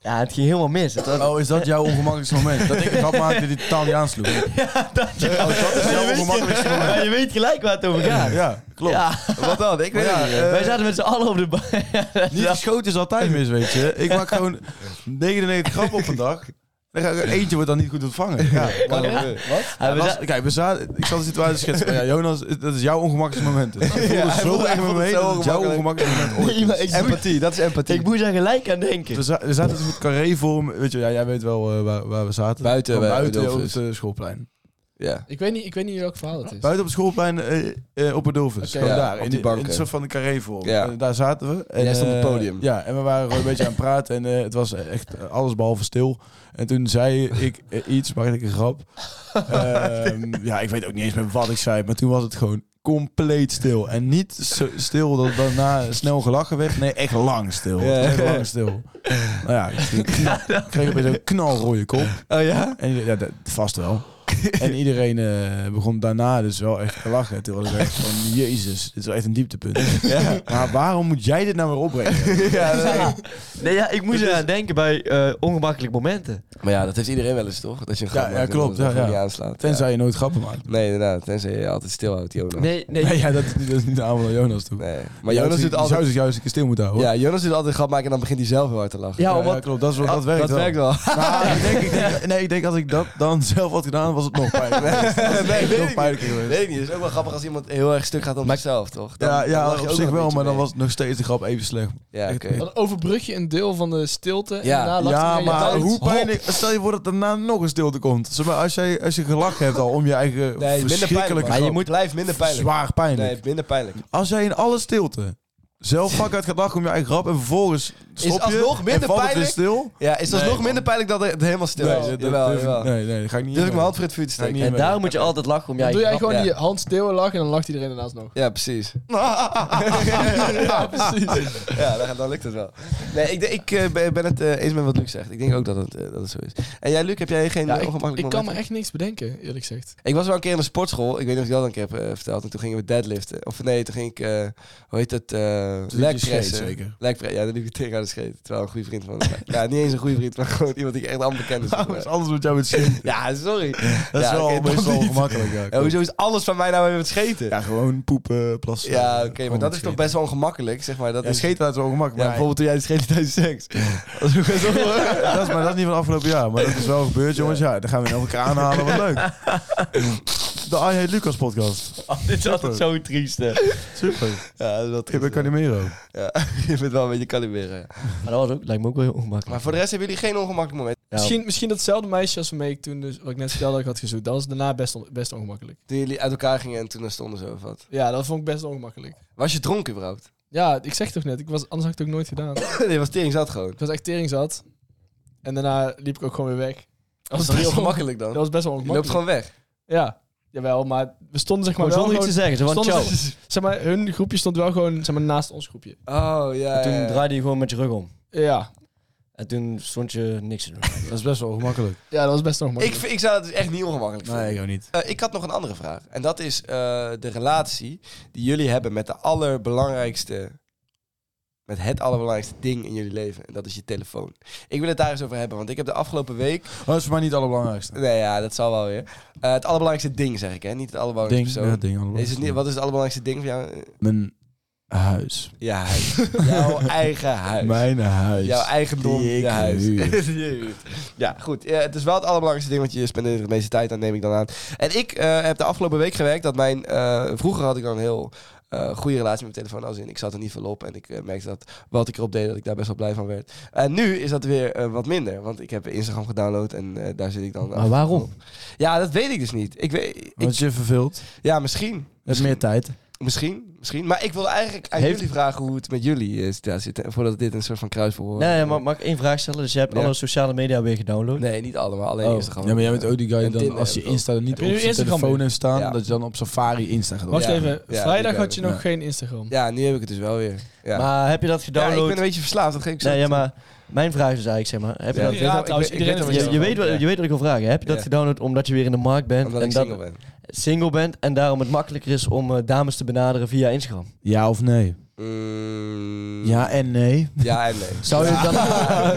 S5: Ja, het ging helemaal mis. Het was-
S3: Oh, is dat jouw ongemakkelijkste moment? Dat ik een grap maakte die totaal niet aansloeg.
S5: [laughs] ja, dat, ja.
S3: Oh, dat is
S5: Maar
S3: jouw
S5: je weet- [laughs]
S3: ongemakkelijkste moment.
S5: maar je weet gelijk waar het over gaat.
S3: Ja, klopt.
S5: Ja,
S2: Wat dan? Ik weet
S3: Maar ja,
S2: het niet.
S3: eh,
S5: wij zaten met z'n allen op de bank.
S3: Niet geschoten is altijd mis, weet je. Ik maak gewoon 99 grappen op een dag. Dan ga ik- Eentje wordt dan niet goed ontvangen. Ja,
S2: Kan gebeuren. Wat?
S5: Ja, we
S3: was-
S5: za-
S3: kijk, we zaten, ik zat de situatie schetsen. van, Ja, Jonas, dat is jouw ongemakkelijkste moment. Ik voelde
S2: hij
S3: zo
S2: voelde- hij
S3: erg met
S2: voelde het
S3: me heen.
S2: zo
S3: Dat is jouw
S2: ongemakkelijk.
S3: ongemakkelijkste moment ooit.
S5: Nee, maar ik, moest,
S2: Empathie, dat is empathie.
S5: ik moest daar gelijk aan denken.
S3: We, za- we zaten dus met carré-vorm. Weet je, ja, jij weet wel eh, waar, waar we zaten.
S2: Buiten,
S3: Van
S2: eh,
S3: buiten op
S2: Adolphus.
S3: het eh, schoolplein.
S2: Ja.
S4: Ik weet niet, ik weet niet welk verhaal het is.
S3: Buiten op het schoolplein eh, eh, op het Dolphus.
S4: Oké,
S2: ja,
S3: Gewoon daar.
S2: op
S3: in
S2: die
S3: die
S2: banken.
S3: In een soort van een carré-vorm.
S2: Ja.
S3: Eh, daar zaten we. En,
S2: jij stond op het
S3: eh,
S2: podium.
S3: ja, en we waren gewoon een beetje aan het praten. En eh, het was echt eh, alles behalve stil. En toen zei ik eh, iets, maakte ik een grap. Ehm, ja, ik weet ook niet eens meer wat ik zei. Maar toen was het gewoon compleet stil. En niet zo stil dat daarna snel gelachen werd. Nee, echt lang stil.
S2: Ja.
S3: Echt lang stil. Nou ja, ik
S2: [laughs]
S3: kreeg- ik kreeg opeens een knalrode kop.
S2: Oh ja?
S3: En ieder- ja, dat,
S2: [laughs]
S3: vast wel. en iedereen eh, begon daarna dus wel echt te lachen. Toen was ik echt van, jezus, dit is wel echt een dieptepunt. Maar waarom moet jij dit nou weer
S2: [laughs]
S3: opbrengen?
S5: Nee, ja, ik moest eraan denken bij eh, ongemakkelijke momenten.
S2: Maar ja, dat heeft iedereen wel eens, toch? Dat je een
S3: Ja,
S2: grap
S3: ja,
S2: maakt en
S3: klopt,
S2: dat het
S3: ja,
S2: gewoon
S3: ja.
S2: niet aanslaat.
S3: Tenzij
S2: Ja.
S3: je nooit grappen maakt.
S2: Nee, inderdaad. Tenzij je altijd stilhoudt, Jonas.
S5: Nee, nee.
S3: Nee, ja, dat, is niet- dat is niet de aanval aan Jonas toe.
S2: Nee. Maar Jonas doet
S3: zou
S2: altijd...
S3: zich juist een keer stil moeten houden. hoor.
S2: Ja, Jonas doet altijd een grap maken en dan begint hij zelf heel hard te lachen.
S5: Ja,
S3: Ja,
S5: omdat,
S3: ja, klopt. Dat, is wel, dat, werkt
S2: Ah, [laughs] dat
S3: wel.
S2: werkt wel.
S3: [laughs] Maar ik denk, ik denk, nee, ik denk als ik dat dan zelf had gedaan, was het nog pijnlijker. geweest. Dat was
S2: [laughs] Nee,
S3: echt
S2: weet
S3: nog
S2: ik
S3: pijnlijker geweest.
S2: Weet ik niet. Het is ook wel grappig als iemand heel erg stuk gaat om zichzelf, toch? Dan
S3: Ja,
S2: lach
S3: ja
S2: je
S3: op
S2: ook
S3: zich
S2: een
S3: wel,
S2: beetje
S3: maar dan
S2: mee.
S3: was nog steeds de grap even slecht.
S2: Ja, oké.
S4: Dan overbrug je een deel van de stilte.
S2: Ja.
S4: en daarna lacht
S3: ja,
S4: iedereen je
S3: maar
S4: uit.
S3: hoe pijnlijk... Stel je voor dat daarna nog een stilte komt. Zeg maar, als, jij, als je gelachen hebt al om je eigen
S2: Nee, minder pijnlijk.
S3: verschrikkelijke
S2: Maar je
S3: grap,
S2: moet blijven minder pijnlijk.
S3: Zwaar pijnlijk.
S2: Nee, minder pijnlijk.
S3: Als jij in alle stilte zelf vak uit gaat lachen om je eigen grap en vervolgens stop je
S2: alsnog
S3: en
S2: minder
S3: valt het weer
S2: pijnlijk?
S3: stil.
S2: Ja, is dat
S3: Nee,
S2: nog minder pijnlijk dan het helemaal stil is?
S3: dat- dat
S2: jawel,
S3: durf ik-
S2: jawel.
S3: nee, nee, dat ga ik niet
S2: Durf ik
S3: doen.
S2: mijn hand
S3: [laughs]
S2: voor het vuur te
S3: Ga ik
S2: steken?
S3: niet
S5: en
S3: meer.
S5: [laughs] daar moet je altijd lachen om
S4: Dan
S5: jij.
S4: doe jij gewoon
S2: ja.
S4: die hand stil lachen en dan lacht iedereen daarnaast [laughs] nog.
S2: Ja, precies. [laughs]
S4: Ja, precies.
S2: Ja, dan, dan lukt het wel. Nee, ik, denk- ik eh, ben ben het eh, eens met wat Luc zegt. Ik denk ook dat het, eh, dat het zo is. En jij, Luc, heb jij geen
S4: Ja,
S2: eh,
S4: ik,
S2: ongemakkelijk
S4: ik kan me
S2: moment?
S4: echt niks bedenken, eerlijk gezegd.
S2: Ik was wel een keer in de sportschool. Ik weet niet of ik dat een keer heb eh, verteld. En toen gingen we deadliften. Of nee, toen ging ik, eh, hoe heet het? eh
S3: Toen liep je scheet
S2: legpressen.
S3: zeker?
S2: Legpre- ja, dat liep ik tegen aan de scheet. Terwijl een goede vriend van me. ja, niet eens een goede vriend, maar gewoon iemand die ik echt amper
S3: [laughs]
S2: kende.
S3: Nou, is alles met jou met scheten.
S2: Ja, sorry.
S3: Dat is
S2: Ja,
S3: wel
S2: oké, dan
S3: meestal
S2: niet.
S3: ongemakkelijk. Ja,
S2: Ja, hoezo is alles van mij nou weer met scheten?
S3: Ja, gewoon poepen, plassen.
S2: Ja, oké,
S3: gewoon
S2: maar dat is
S3: met
S2: toch
S3: scheten.
S2: best wel ongemakkelijk, zeg maar. Dat
S3: Ja,
S2: is
S3: scheten laten
S2: Ja,
S3: we ongemakkelijk.
S2: bijvoorbeeld toen jij het scheet tijdens seks. [laughs] Dat is ook best
S3: [laughs]
S2: wel-
S3: dat is, maar dat is niet van afgelopen jaar. Maar dat is wel gebeurd, jongens. Ja, dan gaan we elkaar aanhalen. Wat leuk. De I Hate Lucas podcast.
S5: Oh, dit is altijd zo triest. hè.
S3: Super.
S2: Ja, dat is wel
S3: Ik ben
S2: triest, hè.
S3: Calimero.
S2: Ja, [laughs] je bent wel een beetje kaliberen.
S5: Maar dat was ook, lijkt me ook wel heel ongemakkelijk.
S2: Maar voor de rest hebben jullie geen ongemakkelijk moment.
S5: Ja.
S4: Misschien, misschien datzelfde meisje als waarmee ik toen, dus, wat ik net vertelde, dat ik had gezoekt. Dat was daarna best, on- best ongemakkelijk.
S2: Toen jullie uit elkaar gingen en toen daar stonden ze of wat.
S4: Ja, dat vond ik best ongemakkelijk.
S2: Was je dronken überhaupt?
S4: Ja, ik zeg toch net, ik was, anders had ik het ook nooit gedaan.
S2: nee, was tering zat gewoon.
S4: Ik was echt tering zat. En daarna liep ik ook gewoon weer weg.
S2: Dat was
S4: best
S2: toch heel
S4: wel-
S2: gemakkelijk dan?
S4: Dat was best wel
S2: Je loopt
S4: ongemakkelijk.
S2: gewoon weg.
S4: Ja, jawel, maar we stonden zeg maar
S5: Gewoon
S4: wel
S5: zonder iets te
S4: gewoon-
S5: zeggen. Ze van
S4: stonden
S5: ciao.
S4: ze- [laughs] Zeg maar, hun groepje stond wel gewoon zeg maar, naast ons groepje.
S2: Oh, ja.
S5: En toen
S2: ja, ja.
S5: draaide je gewoon met je rug om.
S4: Ja,
S5: En toen stond je
S2: [laughs]
S5: niks te doen.
S3: Dat is best wel ongemakkelijk.
S4: ja dat was best nog
S2: ik, vind- ik zou het dus echt niet ongemakkelijk vinden.
S3: Nee, ik ook niet.
S2: Eh, ik had nog een andere vraag. En dat is eh, de relatie die jullie hebben met de allerbelangrijkste... Met het allerbelangrijkste ding in jullie leven. En dat is je telefoon. Ik wil het daar eens over hebben. Want ik heb de afgelopen week...
S3: Oh, dat is voor mij niet het allerbelangrijkste.
S2: Nee, ja, dat zal wel weer. Eh, het allerbelangrijkste ding, zeg ik, hè? Niet het
S3: Ding,
S2: allerbelangrijkste
S3: ja,
S2: persoon.
S3: ding,
S2: is het niet, wat is het allerbelangrijkste ding voor jou?
S3: Mijn huis.
S2: Ja, huis.
S3: [laughs]
S2: Jouw eigen huis.
S3: Mijn huis.
S2: Jouw eigendom,
S3: Die ik
S2: je huis.
S3: huur.
S2: Die [laughs] je huurt. ja, goed. Eh, het is wel het allerbelangrijkste ding, want je spendeert er de meeste tijd aan, neem ik dan aan. En ik eh, heb de afgelopen week gewerkt dat mijn... eh, vroeger had ik dan een heel eh, goede relatie met mijn telefoon. Als in, ik zat er niet veel op en ik eh, merkte dat wat ik erop deed, dat ik daar best wel blij van werd. En nu is dat weer eh, wat minder, want ik heb Instagram gedownload en eh, daar zit ik dan... af en toe
S5: waarom?
S2: op. Ja, dat weet ik dus niet. Ik weet... ik-
S3: Want je Oh. verveelt.
S2: ja, misschien.
S3: Het meer tijd.
S2: Misschien, misschien. Maar ik wil eigenlijk aan
S5: Heeft-
S2: jullie vragen hoe het met jullie eh, situatie zit. eh, Voordat dit een soort van kruisverhoor...
S5: Nee, maar mag ik één vraag stellen? Dus je hebt
S2: Ja.
S5: alle sociale media weer gedownload?
S2: Nee, niet allemaal. Alleen
S5: Oh.
S2: Instagram.
S3: Ja, maar jij bent ook die guy
S2: En
S3: die dan
S2: Tinder
S3: als je
S2: heb ik
S3: Insta er niet
S4: Heb je
S3: op
S4: nu
S3: zijn
S4: Instagram
S3: telefoon
S4: mee?
S3: heeft staan,
S2: Ja.
S3: dat je dan op Safari Insta gaat
S4: Wacht
S2: Ja.
S4: even,
S2: Ja,
S4: vrijdag
S2: die
S4: had je
S2: kan-
S4: nog
S2: ja.
S4: geen Instagram.
S2: Ja, nu heb ik het dus wel weer. Ja.
S5: Maar heb je dat
S2: Ja, ik
S5: gedownload?
S2: ben een beetje verslaafd, dat geef ik zo.
S5: nee, ja, maar mijn vraag is eigenlijk, zeg maar, heb je
S2: Ja,
S5: dat
S2: ik
S4: Ja,
S2: weet-
S4: trouwens,
S2: ik weet- ik weet
S4: iedereen heeft
S5: Je,
S2: dat
S5: je
S2: we-
S5: weet, wat- je weet wat ik wil vragen. Heb je dat
S2: Ja.
S5: gedownload omdat je weer in de markt bent
S2: Omdat
S5: en
S2: ik
S5: dat
S2: single ben.
S5: single bent en daarom het makkelijker is om eh, dames te benaderen via Instagram?
S3: Ja of nee?
S2: Mm,
S3: Ja en nee.
S2: Ja en nee.
S5: [laughs] Zou je dan,
S2: [laughs]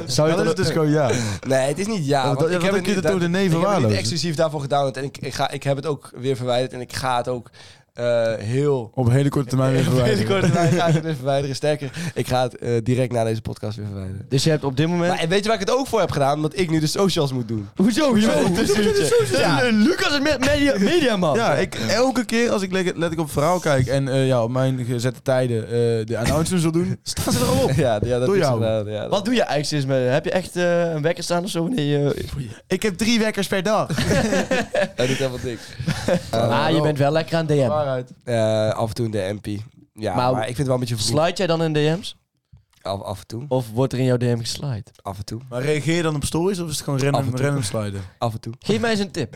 S5: zou je
S3: Dat
S5: dan,
S3: is dus gewoon ja.
S2: Nee, het is niet ja. want
S3: Want dat- ja,
S2: ik heb het
S3: want dan kun je
S2: niet-
S3: het door de nee
S2: Ik heb het niet
S3: verwaarlozen.
S2: exclusief daarvoor gedownload. En ik, ik, ga, ik heb het ook weer verwijderd. En ik ga het ook eh, heel...
S3: Op hele korte
S2: [laughs]
S3: termijn
S2: Op
S3: weer
S2: hele
S3: verwijderen.
S2: korte termijn ga ik het weer verwijderen. Sterker, ik ga het eh, direct na deze podcast weer verwijderen.
S5: dus je hebt op dit moment...
S2: Maar en weet je waar ik het ook voor heb gedaan? Omdat ik nu de socials moet doen.
S5: hoezo? hoezo?
S2: Zo, dus-
S5: Ja. Lucas is me- media, media man.
S3: [laughs] Ja, ik, elke keer als ik let, let ik op het verhaal kijk en eh, ja, op mijn gezette tijden eh, de announcements wil
S2: [laughs]
S3: doen, staan ze er al op.
S2: Ja, ja, dat
S3: Door
S2: is
S3: jou.
S2: gedaan, ja, dat-
S5: Wat doe je eigenlijk sinds met? Heb je echt eh, een wekker staan of zo? Nee, eh, je-
S3: Ik heb drie wekkers per dag.
S2: Dat doet helemaal
S3: [laughs]
S2: niks.
S5: ah, je bent wel lekker aan DM.
S3: Waarheid.
S2: Eh, af en toe in de MP. Ja,
S5: Maar-
S2: maar, ik vind het wel een beetje vroeg.
S5: Slide jij dan in DM's?
S2: Af, af en toe.
S5: Of wordt er in jouw DM geslide?
S2: Af en toe.
S3: Maar reageer je dan op stories of is het gewoon
S2: Af en
S3: random,
S2: toe.
S3: random sliden?
S2: Af en toe.
S5: Geef mij eens een tip.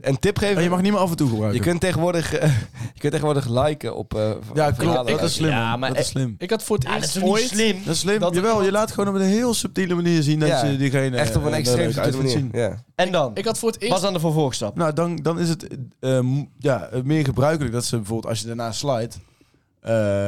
S2: En tip geven.
S3: Oh, je mag niet meer af en toe gebruiken.
S2: Je kunt tegenwoordig, eh, [laughs] je kunt tegenwoordig liken op. eh,
S3: ja,
S2: verhalen
S3: klopt. Dat
S2: uit.
S3: is slim.
S5: Ja,
S3: man.
S5: maar
S3: dat is
S2: e-
S5: ik-
S3: slim.
S4: Ik had voor het
S5: Ja, dat
S4: eerst
S5: is Dus- toch niet
S4: ooit...
S5: slim?
S3: Dat is slim.
S4: Dat-
S3: Jawel, je laat gewoon op een heel subtiele manier zien dat
S2: Ja.
S3: je diegene...
S2: Echt op een
S3: eh,
S2: extreem
S3: leuk uit
S2: subtiele
S3: vindt
S2: manier.
S3: zien.
S2: Ja.
S5: En dan?
S4: Ik had voor het eerst...
S5: Was dan de vervolgstap?
S3: Nou, dan, dan is het eh, m- ja, meer gebruikelijk dat ze bijvoorbeeld als je daarna slide... eh,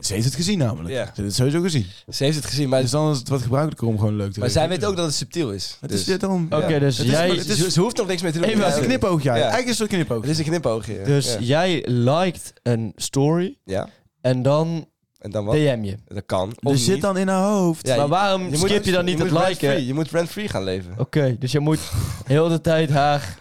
S3: ze heeft het gezien namelijk.
S2: Ja.
S3: Ze heeft het sowieso gezien.
S2: Ze heeft het gezien, maar,
S3: Dus dan is het wat gebruikelijker om gewoon leuk te
S2: maar zij weet
S3: reageren.
S2: ook dat het subtiel is.
S3: Het
S2: dus.
S3: is dit dan...
S5: Oké, dus
S3: Het is-
S5: jij...
S3: het is-
S2: Ze- ze hoeft nog niks mee te doen.
S3: Even als
S2: Ja,
S3: een knipoogje.
S2: Ja.
S3: Eigenlijk is het een knipoogje.
S2: Het is een knipoogje. ja.
S5: dus
S2: ja.
S5: jij liked een story
S2: Ja.
S5: en dan
S2: En dan wat?
S5: DM je.
S2: Dat kan. Of
S3: Er zit
S2: niet.
S3: dan in haar hoofd.
S2: Ja,
S5: maar
S2: je-
S5: waarom
S2: moet-
S5: skip je dan niet
S2: moet
S5: het liken?
S2: rent-free- Je moet rent-free gaan leven.
S5: Oké, dus je moet heel de tijd haar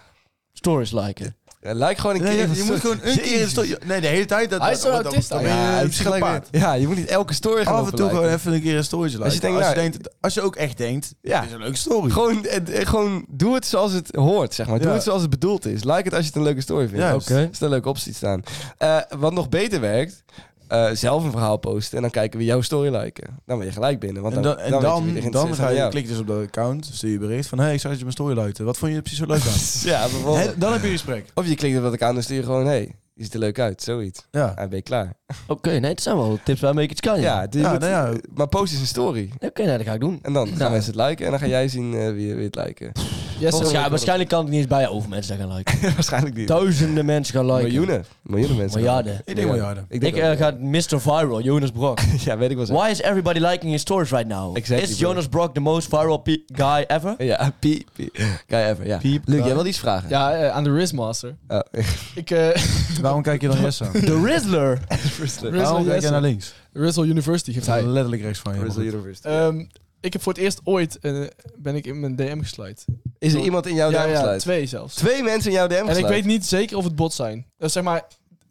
S5: stories liken.
S2: Ja, like gewoon een
S3: Nee,
S2: keer.
S3: je moet gewoon een keer... in sto- Nee, de hele tijd... Dat,
S4: Hij is zo'n
S3: dat- dat-
S4: autist
S3: dan ben je
S2: Ja,
S3: een
S2: je moet gelijk
S3: eh, psychopaat.
S2: weer- ja, je moet niet elke story gaan
S3: Af en toe
S2: overliken.
S3: gewoon even een keer een storytje
S2: Als je
S3: liken.
S2: denkt,
S3: als, je
S2: nou-
S3: denkt, als je ook echt denkt,
S2: Ja.
S3: ja. dit is een leuke story.
S2: Gewoon, eh, eh, gewoon doe het zoals het hoort, zeg maar. Doe
S3: Ja.
S2: het zoals het bedoeld is. Like het als je het een leuke story vindt.
S3: Juist.
S2: Oké. Als er een leuke op ziet staan. Eh, wat nog beter werkt, eh, zelf een verhaal posten en dan kijken we jouw story liken. Dan ben je gelijk binnen. Want
S3: en
S2: dan,
S3: dan, en
S2: dan,
S3: dan,
S2: weet je wie er
S3: dan,
S2: geïnteresseerd is
S3: ga je,
S2: aan jou.
S3: klik dus op dat account, stuur je bericht van... Hé, hey, ik zag dat je mijn story likte. Wat vond je er precies zo leuk aan? [laughs]
S2: Ja, bijvoorbeeld.
S3: Hè, dan heb je een gesprek.
S2: Of je klikt op dat account en stuur je gewoon, hé, hey, je ziet er leuk uit, zoiets.
S3: Ja.
S2: En ben je klaar.
S5: Oké, nee, het zijn wel tips waarmee ik iets kan. Ja.
S2: Ja, dus je
S3: Ja,
S2: moet-
S3: nou ja.
S2: maar post is een story.
S5: Oké, nee, dat ga ik doen.
S2: En dan gaan
S5: Nou.
S2: mensen het liken en dan ga jij zien eh, wie, wie het
S3: [laughs]
S2: liken. [laughs]
S4: Jesse-
S2: Volgens-
S5: Waarschijnlijk, waarschijnlijk kan het niet eens bij over mensen dat gaan
S2: [laughs]
S5: liken.
S2: Waarschijnlijk niet.
S5: Duizenden mensen gaan liken.
S2: Miljoenen. Miljoenen mensen.
S5: Miljarden.
S3: Ik denk miljarden.
S2: Ik
S5: Ik
S2: denk
S5: eh,
S2: ook.
S5: ga Mr. Viral, Jonas Brock.
S2: [laughs] Ja, weet ik wel zo.
S5: Why is everybody liking his stories right now?
S2: Exactly,
S5: is
S2: bro.
S5: Jonas Brock the most viral pe- guy ever?
S2: Ja, piep, piep. Kijk even, ja.
S3: Piep,
S2: Luc,
S3: ja.
S2: jij wilde iets vragen?
S4: Ja, eh, aan de Rizzmaster.
S2: Oh, [laughs]
S4: Ik, eh [laughs]
S3: Waarom kijk je dan yes aan?
S5: The Rizzler.
S2: Bristol
S4: Rizzle,
S3: Waarom kijk je
S4: Jesse.
S3: naar links?
S4: Rizzo University geeft hij.
S3: Letterlijk rechts van je. maar goed.
S2: University.
S4: Ehm, ik heb voor het eerst ooit... eh, ben ik in mijn DM gesluit.
S2: Is er iemand in jouw DM gesluit?
S4: twee zelfs.
S2: Twee mensen in jouw DM
S4: En ik
S2: gesluit?
S4: weet niet zeker of het bots zijn. Dus zeg maar,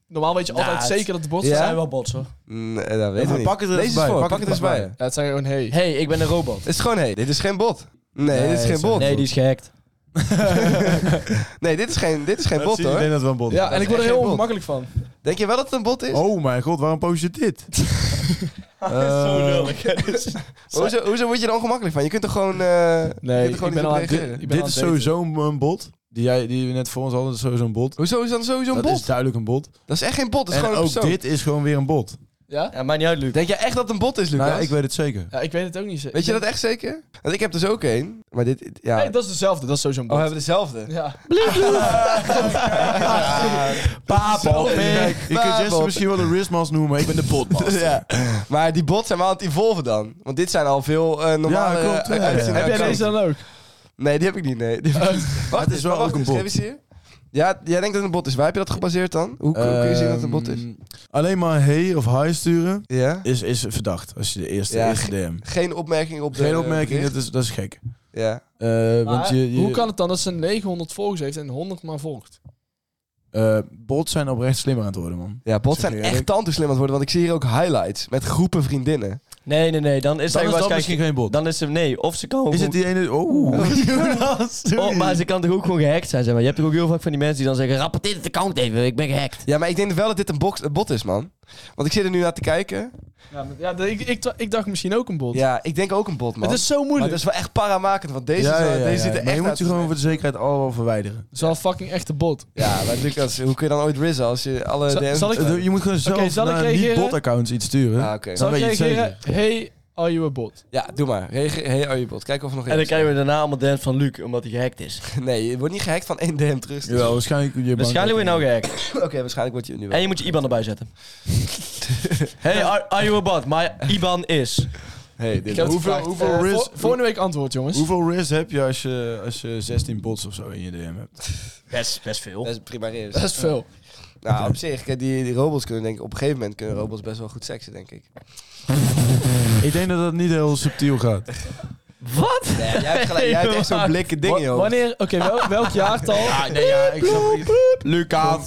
S4: normaal weet je
S5: Ja,
S4: altijd
S5: het-
S4: zeker dat het bots
S2: Ja?
S5: Dat
S4: zijn.
S5: zijn wel bots hoor.
S2: Nee, Mm, eh, dat weet
S3: Ja,
S2: ik
S3: maar
S2: niet.
S3: pak het er
S2: Lees
S3: eens bij,
S2: voor,
S3: pak
S2: pak het
S3: het
S2: eens
S3: er
S2: bij.
S3: bij.
S4: Ja, het zijn gewoon hey.
S5: Hey, ik ben een robot.
S2: Het is gewoon, hé, hey, dit is geen bot. Nee, dit is
S3: het
S2: geen
S3: is-
S2: bot.
S5: Nee, die is gehackt.
S2: Nee, dit is geen, dit is geen
S3: Dat
S2: bot
S3: zie je, Ik
S2: hoor.
S3: denk dat we een bot
S4: Ja, en ik word er heel
S2: bot.
S4: ongemakkelijk van.
S2: Denk je wel dat het een bot is?
S3: Oh mijn god, waarom post je
S2: [laughs]
S4: [laughs]
S3: dit? Eh, Zo lullig.
S2: Hoezo, hoezo word je er ongemakkelijk van? Je kunt toch gewoon... eh,
S4: Nee,
S2: je kunt er gewoon
S4: ik ben
S2: niet op
S4: al aan het-
S2: reageren?
S4: ik ben
S3: Dit
S4: aan
S3: is
S4: het daten.
S3: sowieso een- een bot. Die, jij, die we net voor ons hadden, dat is sowieso een bot.
S2: Hoezo is dan sowieso een
S3: dat
S2: bot?
S3: is duidelijk een bot.
S2: Dat is echt geen bot, dat is
S3: en
S2: gewoon een
S3: ook
S2: persoon.
S3: dit is gewoon weer een bot.
S4: Ja?
S5: Ja, maakt niet uit, Luc.
S2: Denk jij echt dat het een bot is, Lucas?
S3: Nou, ja, ik weet het zeker.
S4: Ja, ik weet het ook niet zeker.
S2: Weet je dat echt zeker? Want ik heb dus ook één. Maar dit... Ja.
S4: Nee, dat is dezelfde. Dat is sowieso een
S2: Oh, we
S4: bot.
S2: hebben dezelfde.
S4: [laughs] Ja.
S3: Papel,
S2: Kijk,
S3: Je kunt Jesse
S2: bot.
S3: misschien wel een wristmas noemen, maar ik ben de
S2: [laughs]
S3: botmas.
S2: Ja. Maar die bots zijn wel aan het evolven dan. Want dit zijn al veel eh, normale...
S3: Ja, klopt, ja.
S2: eh, uitzendingen.
S4: Heb jij deze dan ook?
S2: Nee, die heb ik niet. Nee. Die heb ik niet. Wacht,
S3: het
S2: eens,
S3: is wel
S2: [laughs] maar wacht
S3: ook een
S2: eens,
S3: bot.
S2: geef eens hier. Ja, jij denkt dat het een bot is. Waar heb je dat gebaseerd dan? Hoe, hoe kun je zien dat het een bot is?
S3: Ehm, Alleen maar hey of hi sturen
S2: Ehm, Ja?
S3: is, is verdacht als je de eerste,
S2: Ja,
S3: eerste DM.
S2: Geen opmerking op de...
S3: Geen opmerking,
S2: bericht?
S3: dat is, dat is gek.
S2: Ja.
S3: Eh, want je, je,
S4: Hoe kan het dan dat ze 900 volgers heeft en 100 maar volgt?
S3: eh, bots zijn oprecht slimmer aan het worden, man.
S2: ja, bots
S3: Zeg
S2: zijn
S3: je
S2: echt
S3: eerlijk?
S2: tante slim aan het worden. Want ik zie hier ook highlights met groepen vriendinnen.
S5: Nee, nee, nee. Dan is
S3: Dan
S5: hij
S3: is
S5: gewoon
S3: dat
S5: kijk,
S3: misschien geen bot.
S5: Dan is hem nee. Of ze kan
S3: Is
S5: gewoon-
S3: het die ene... Oh.
S5: Oh, maar ze kan toch ook gewoon gehackt zijn, zeg maar. Je hebt toch ook heel vaak van die mensen die dan zeggen... Rapporteer het account even, ik ben gehackt.
S2: Ja, maar ik denk wel dat dit een, box, een bot is, man. Want ik zit er nu naar te kijken.
S4: Ja, maar- ja, ik, ik, dacht- ik dacht misschien ook een bot.
S2: Ja, ik denk ook een bot, man.
S4: het is zo
S2: maar
S4: moeilijk.
S2: dat is wel echt paramakend, want deze,
S3: ja,
S2: is wel-
S3: ja, ja,
S2: deze
S3: ja.
S2: zit er
S3: Maar
S2: echt
S3: je moet
S2: uit
S3: ze
S2: te
S3: gewoon voor de zekerheid allemaal verwijderen.
S4: Het is wel een fucking echte bot.
S2: Ja,
S3: [laughs]
S2: maar Lucas, hoe kun je dan ooit rizzen als je alle
S4: Zal-
S2: DM's...
S4: zal ik-
S3: Eh, Je moet gewoon zelf
S4: zal ik
S3: naar die
S4: reageren?
S3: bot-accounts iets sturen.
S2: Ah, oké.
S3: Zal-
S4: Zal ik
S3: weet je het
S4: reageren? Hey, are you a bot?
S2: Ja, doe maar. Reageer, hey, oh, je bot. Kijk of er nog
S5: En dan
S2: iets-
S5: krijgen we daarna allemaal dance van Luc, omdat hij gehackt is.
S2: Nee, je wordt niet gehackt van één DM terug.
S3: Jawel, waarschijnlijk je
S5: Waarschijnlijk word je nou gehackt.
S2: [laughs] Oké, waarschijnlijk wordt je nu wel.
S5: En je moet je IBAN erbij
S3: [laughs]
S5: zetten. hey, are, are you a bot? My IBAN is...
S2: Hey, dit
S3: heb-
S2: is-
S3: Hoeveel-
S4: Vraagt,
S3: hoeveel
S4: eh,
S3: risk-
S4: vol- Volgende week antwoord, jongens.
S3: Hoeveel risk heb je als, je als je 16 bots of zo in je DM hebt?
S5: Best, best veel.
S2: dat is prima reus.
S4: Dat is veel.
S2: Nou, op zich, kijk, die, die robots kunnen denk ik... Op een gegeven moment kunnen robots best wel goed seksen, denk ik.
S3: [laughs] ik denk dat dat niet heel subtiel gaat.
S5: Wat?
S2: Nee, jij hebt, gelijk, jij hebt echt zo'n blikken ding,
S4: Wa-
S2: joh.
S4: Wanneer, oké, wel- welk jaartal?
S3: Ah, nee, ja, ik snap Lucas!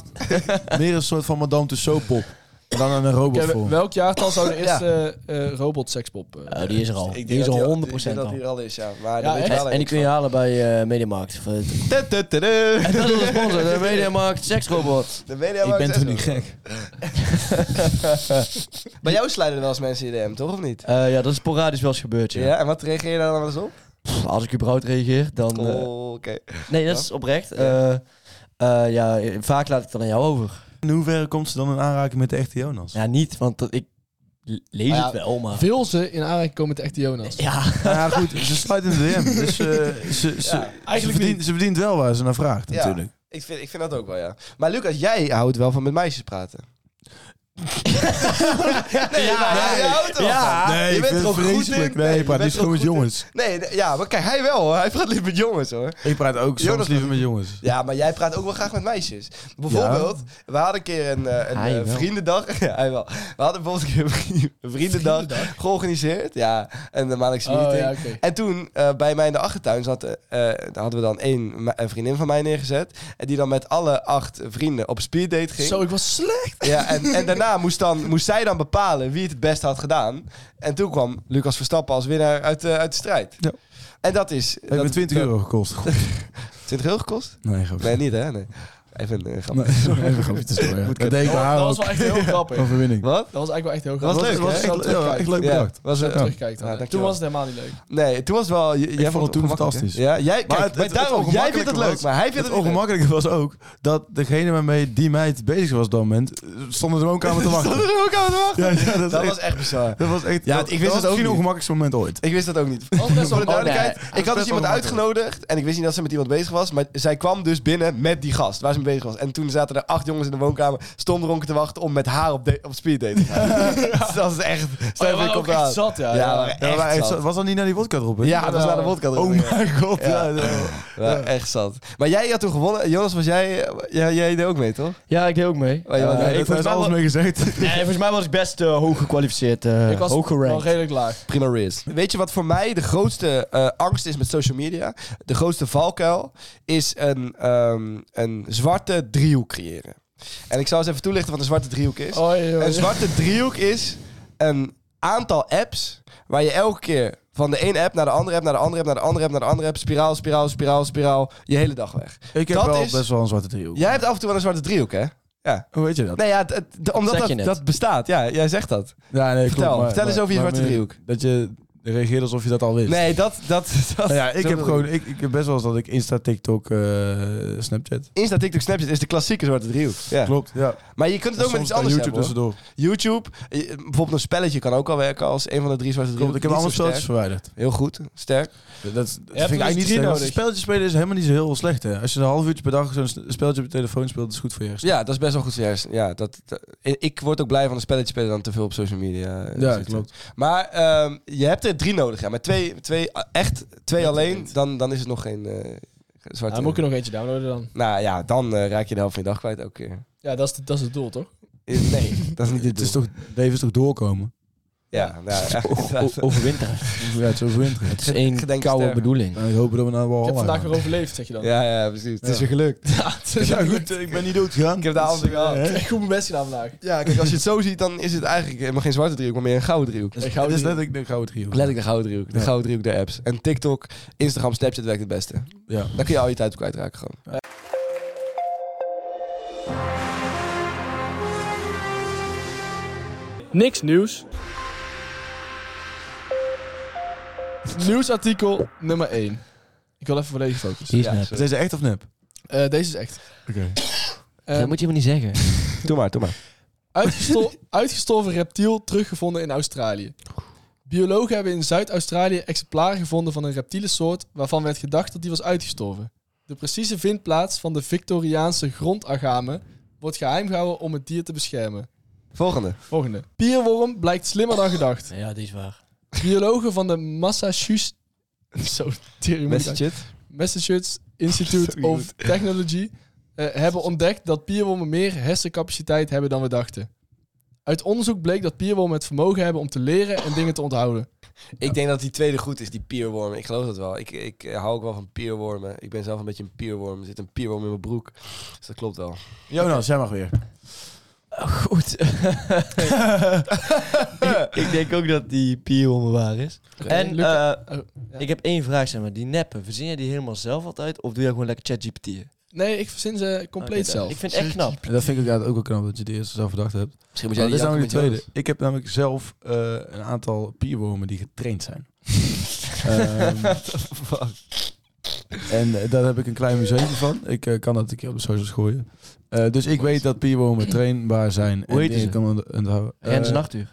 S3: Meer een soort van Madame Tussauds pop. Maar dan aan een robot
S4: Oké,
S3: voor.
S4: welk jaartal zou de eerste eh, eh, robot sekspop? eh,
S5: Oh, die is er al.
S2: Ik
S5: Die
S2: denk
S5: is
S2: dat
S5: er
S2: al-
S5: 100%
S2: Ik denk dat die
S5: al.
S2: er al is, ja. Maar
S4: Ja,
S2: dat weet je
S4: echt?
S2: wel
S5: En die kun je halen bij eh, Mediamarkt.
S2: [laughs]
S5: Voor het- En dat is de sponsor, de Mediamarkt seksrobot.
S2: De media
S3: Ik ben toch niet
S2: [laughs]
S3: gek?
S2: Bij jou slijden er wel eens mensen in je DM, toch? Of niet?
S5: Eh, ja, dat is sporadisch wel eens gebeurd, ja.
S2: Ja, en wat reageer je daar dan wel eens op?
S5: Pff, als ik überhaupt reageer, dan... eh,
S2: Oh, oké.
S5: nee, dat is oprecht. Eh, eh, ja, eh, vaak laat ik het dan aan jou over.
S3: In hoeverre komt ze dan in aanraking met de echte Jonas?
S5: Ja, niet, want dat, ik lees
S4: Maar ja,
S5: het wel, maar...
S4: Veel ze in aanraking komen met de echte Jonas.
S5: Ja, [laughs]
S3: Nou ja, goed, ze sluit in de DM. Dus eh, ze, ze, ze,
S4: eigenlijk
S3: verdient, ze verdient wel waar ze naar vraagt,
S2: Ja.
S3: natuurlijk.
S2: Ik vind, ik vind dat ook wel, ja. Maar Lucas, jij houdt wel van met meisjes
S3: [laughs]
S2: praten. nee, maar jij houdt er wel van.
S3: nee,
S2: je
S3: ik
S2: bent
S3: vind
S2: er
S3: het
S2: ook goed
S3: vreselijk.
S2: in.
S3: Nee,
S2: je
S3: ik praat
S2: bent
S3: niet
S2: er ook goed
S3: gewoon met
S2: in.
S3: jongens.
S2: Nee, nee, ja, maar kijk, hij wel hoor. Hij praat liever met jongens hoor.
S3: Ik praat ook
S2: Jonas
S3: soms liever met jongens.
S2: Ja, maar jij praat ook wel graag met meisjes. Bijvoorbeeld, we hadden een keer een, eh, een
S5: Hij
S2: eh,
S5: wel.
S2: vriendendag. [laughs] ja, hij wel. We hadden bijvoorbeeld een keer een vrienden- een vriendendag, georganiseerd. Ja, en een maandelijkse
S4: Oh,
S2: meeting.
S4: ja, oké.
S2: En toen eh, bij mij in de achtertuin zat, eh, eh, daar hadden we dan één me- een vriendin van mij neergezet. En die dan met alle acht vrienden op speeddate ging.
S4: Zo, ik was slecht.
S2: Ja, en, en daarna moest, dan, moest zij dan bepalen wie het het best had gedaan. En toen kwam Lucas Verstappen als winnaar uit, eh, uit de strijd.
S3: Ja.
S2: En dat is...
S3: Heeft me
S2: dat-
S3: 20 euro gekost.
S2: [laughs] 20 euro gekost?
S3: Nee, grapje.
S2: Nee, niet hè? Nee. Even een eh, grapje.
S3: Nee,
S2: [laughs]
S3: even grapje te storen. Dat deed ik bij haar
S4: Oh, dat was
S3: ook.
S4: wel echt heel grappig. Dat
S3: Overwinning.
S2: Wat?
S4: was eigenlijk wel echt heel
S2: was
S4: grappig.
S2: leuk, hè?
S3: was echt,
S4: Als je
S3: leuk-
S4: dat
S3: ja,
S4: terugkijkt-
S3: echt leuk bedacht.
S2: Was,
S4: als je
S2: het
S4: dat terugkijkt, dan-
S2: Ja,
S4: toen
S2: dankjewel.
S4: was het helemaal niet leuk.
S2: Nee, toen was het wel... j- jij
S3: vond het toen
S2: ongemakkelijk, hè?
S3: fantastisch.
S2: Ja, jij, kijk,
S3: Maar het-
S2: maar
S3: het-
S2: daarom,
S3: het
S2: jij vindt het
S3: ongemakkelijke
S2: leuk, maar hij vindt
S3: Het
S2: het, niet leuk.
S3: ongemakkelijke was ook dat degene waarmee die meid bezig was op dat moment, eh, stond in de woonkamer
S2: [laughs]
S3: te wachten.
S2: Stonden er ook aan te wachten?
S3: [laughs] Ja, ja, Oh, dat,
S2: Dat
S3: is
S2: was
S3: echt,
S2: echt bizar.
S3: dat was echt.
S2: Ja,
S3: dat,
S2: ik wist het ook
S3: dat was misschien
S2: niet.
S3: het ongemakkelijkste moment ooit.
S2: Ik wist dat
S3: [laughs]
S2: ook niet.
S4: Was best
S2: Voor de
S4: wel grappig.
S2: duidelijkheid,
S5: nee.
S2: ik had dus
S3: best wel
S2: iemand uitgenodigd en ik wist niet dat ze met iemand bezig was, maar zij kwam dus binnen met die gast waar ze mee bezig was. En toen zaten er acht jongens in de woonkamer, stom dronken te wachten om met haar op, de, op speeddate te gaan.
S3: [laughs]
S2: [laughs] Dus dat is echt...
S4: Oh,
S2: Stel je
S4: ja, we
S2: voor, je
S4: waren ook
S2: komt
S4: echt
S2: eraan.
S4: zat,
S2: Ja,
S4: ja. ja.
S2: we waren
S3: Ja, maar
S2: echt
S3: echt
S2: zat.
S3: zat- was dat niet naar die wodka erop?
S2: Ja, dat was naar de vodka.
S3: Oh
S2: drinken.
S3: mijn god, ja.
S2: Ja.
S3: ja.
S2: We waren echt zat. Maar jij had toen gewonnen. Jonas, was jij, jij, jij deed ook mee, toch?
S5: ja ik deed ook mee.
S2: Oh, je was-
S5: Eh,
S3: Daar
S5: ik
S3: heeft
S5: volgens, mij
S3: alles
S5: was,
S3: mee
S2: [laughs]
S3: gezegd.
S5: nee, volgens mij was ik best eh, hoog gekwalificeerd, eh,
S4: Ik was
S5: hoog
S4: wel
S5: gerankt.
S4: redelijk laag.
S2: Prima Riz. Weet je wat voor mij de grootste eh, angst is met social media? De grootste valkuil is een, ehm, een zwarte driehoek creëren. En ik zal eens even toelichten wat een zwarte driehoek is.
S4: Oh, joh,
S2: Een
S4: joh.
S2: zwarte driehoek is een aantal apps waar je elke keer van de ene app naar de andere app, naar de andere app, naar de andere app, naar de andere app, spiraal, spiraal, spiraal, spiraal, je hele dag weg.
S3: Ik heb
S2: Dat
S3: wel
S2: is-
S3: best wel een zwarte driehoek.
S2: Jij hebt af en toe wel een zwarte driehoek, hè? Ja.
S3: Hoe weet je dat?
S2: Nee, ja, het- het- de- omdat
S5: Zeg je
S2: dat,
S5: net.
S2: dat bestaat. Ja, jij zegt dat.
S3: Ja, nee,
S2: Vertel,
S3: klopt, maar-
S2: vertel eens
S3: maar-
S2: over je
S3: maar
S2: zwarte
S3: meer
S2: driehoek.
S3: Dat je reageert alsof je dat al wist.
S2: Nee, dat... dat, dat [laughs]
S3: Nou ja, ik
S2: zo
S3: heb
S2: bedoel
S3: gewoon, ik, ik heb best wel eens dat ik Insta, TikTok, eh, Snapchat.
S2: Insta, TikTok, Snapchat is de klassieke zwarte driehoek. Ja.
S3: Klopt, ja.
S2: Maar je kunt het ook met iets anders
S3: YouTube
S2: hebben, hoor.
S3: tussendoor.
S2: YouTube, eh, bijvoorbeeld een spelletje kan ook al werken als een van de drie zwarte driehoeken.
S3: Klopt, ik heb
S2: Niet
S3: allemaal
S2: zo
S3: spelletjes
S2: sterk.
S3: verwijderd.
S2: Heel goed, sterk.
S3: Dat, dat vind ik
S4: dus
S3: eigenlijk niet
S4: drie
S3: slecht. want
S4: nodig.
S3: Spelletjes spelen is helemaal niet zo heel slecht. Hè. Als je een half uurtje per dag zo'n s- spelletje op je telefoon speelt, is goed voor je hersenen.
S2: Ja, dat is best wel goed voor je hersenen. Ja, dat, dat- ik word ook blij van een spelletje spelen dan te veel op social media. eh,
S3: Ja,
S2: zitten.
S3: klopt.
S2: Maar ehm, je hebt er drie nodig, ja. Maar twee, twee ah, echt twee alleen, dan, dan is het nog geen eh,
S4: Ja,
S2: zwarte
S4: dan moet ik er nog eentje downloaden dan.
S2: Nou ja, dan eh, raak je de helft van je dag kwijt elke keer.
S4: Ja, dat is, de- dat is het doel, toch?
S2: [laughs] Eh, Nee, dat is niet het
S3: Het is
S2: doel.
S3: toch, Dave is toch doorkomen?
S2: Ja, nou, ja, inderdaad.
S6: Overwinter.
S3: Ja, het is
S2: [laughs]
S3: overwinteren.
S6: Het is
S2: Ik
S6: één
S2: denk
S6: koude
S2: sterker.
S6: bedoeling.
S3: Nou, ik hoop dat we naar
S4: Ik
S3: Walhalla
S4: heb vandaag weer
S3: gaan.
S4: overleefd, zeg je dan.
S2: ja, ja, precies. Het is
S3: Ja.
S2: weer [laughs] gelukt.
S3: Ja, goed, ik ben niet dood gegaan.
S2: Ik heb de avond weer gehad.
S4: Ik heb goed mijn best gedaan vandaag.
S2: Ja, kijk, als je het zo ziet, dan is het eigenlijk helemaal geen zwarte driehoek, maar meer een gouden driehoek.
S3: Dus, dit is letterlijk de gouden trio.
S2: Letterlijk de gouden driehoek. De
S3: Ja.
S2: gouden driehoek der apps. En TikTok, Instagram, Snapchat werkt het beste.
S3: Ja.
S2: Daar kun je al je tijd op kwijtraken gewoon.
S4: Niks nieuws. [laughs] Nieuwsartikel nummer 1. Ik wil even volledig focus.
S6: Die is
S2: Ja,
S6: nep.
S2: sorry.
S3: Zijn ze echt of nep?
S4: Eh, deze is echt.
S3: Oké.
S4: Eh,
S6: Dat moet je helemaal niet zeggen.
S2: Doe maar, doe maar.
S6: [laughs]
S4: Uitgesto- uitgestorven reptiel teruggevonden in Australië. Biologen hebben in Zuid-Australië exemplaren gevonden van een reptiele soort waarvan werd gedacht dat die was uitgestorven. De precieze vindplaats van de Victoriaanse grondagame wordt geheim gehouden om het dier te beschermen.
S2: Volgende.
S4: Volgende. Pierworm blijkt slimmer dan gedacht.
S6: Ja, die is waar.
S4: Biologen van de Massachusetts... [laughs] Zo, tering moeilijk.
S2: Message it.
S4: Massachusetts Institute of Technology eh, hebben ontdekt dat pierwormen meer hersencapaciteit hebben dan we dachten. Uit onderzoek bleek dat pierwormen het vermogen hebben om te leren en dingen te onthouden.
S2: Ik denk dat die tweede goed is, die pierworm. Ik geloof dat wel. Ik, ik eh, hou ook wel van pierwormen. Ik ben zelf een beetje een pierworm. Er zit een pierworm in mijn broek. Dus dat klopt wel.
S3: Jonas, jij mag weer.
S6: Goed.
S5: [laughs] ik denk ook dat die pionnen waar is. en
S4: Luc-
S5: eh,
S4: Oh, ja.
S5: ik heb één vraag, zeg maar. Die neppen, verzin jij die helemaal zelf altijd? Of doe jij gewoon lekker ChatGPT? en?
S4: nee, ik verzin ze compleet
S5: Oké,
S4: zelf.
S5: Ik vind het echt knap.
S3: En dat vind ik inderdaad ook wel knap dat je de eerste zelf verdacht hebt.
S2: Misschien
S3: Maar dat is namelijk de tweede. Ik heb namelijk zelf eh, een aantal pierwormen die getraind
S2: [laughs]
S3: zijn. Ehm, en eh, daar heb ik een klein museum van. Ik eh, kan dat een keer op de socials gooien. Eh, dus ik weet dat pierwormen trainbaar zijn.
S5: Hoe heet
S3: en die
S5: ze?
S3: ik kan ont- onthouden.
S5: Rens
S3: Eh,
S5: Nachtuur.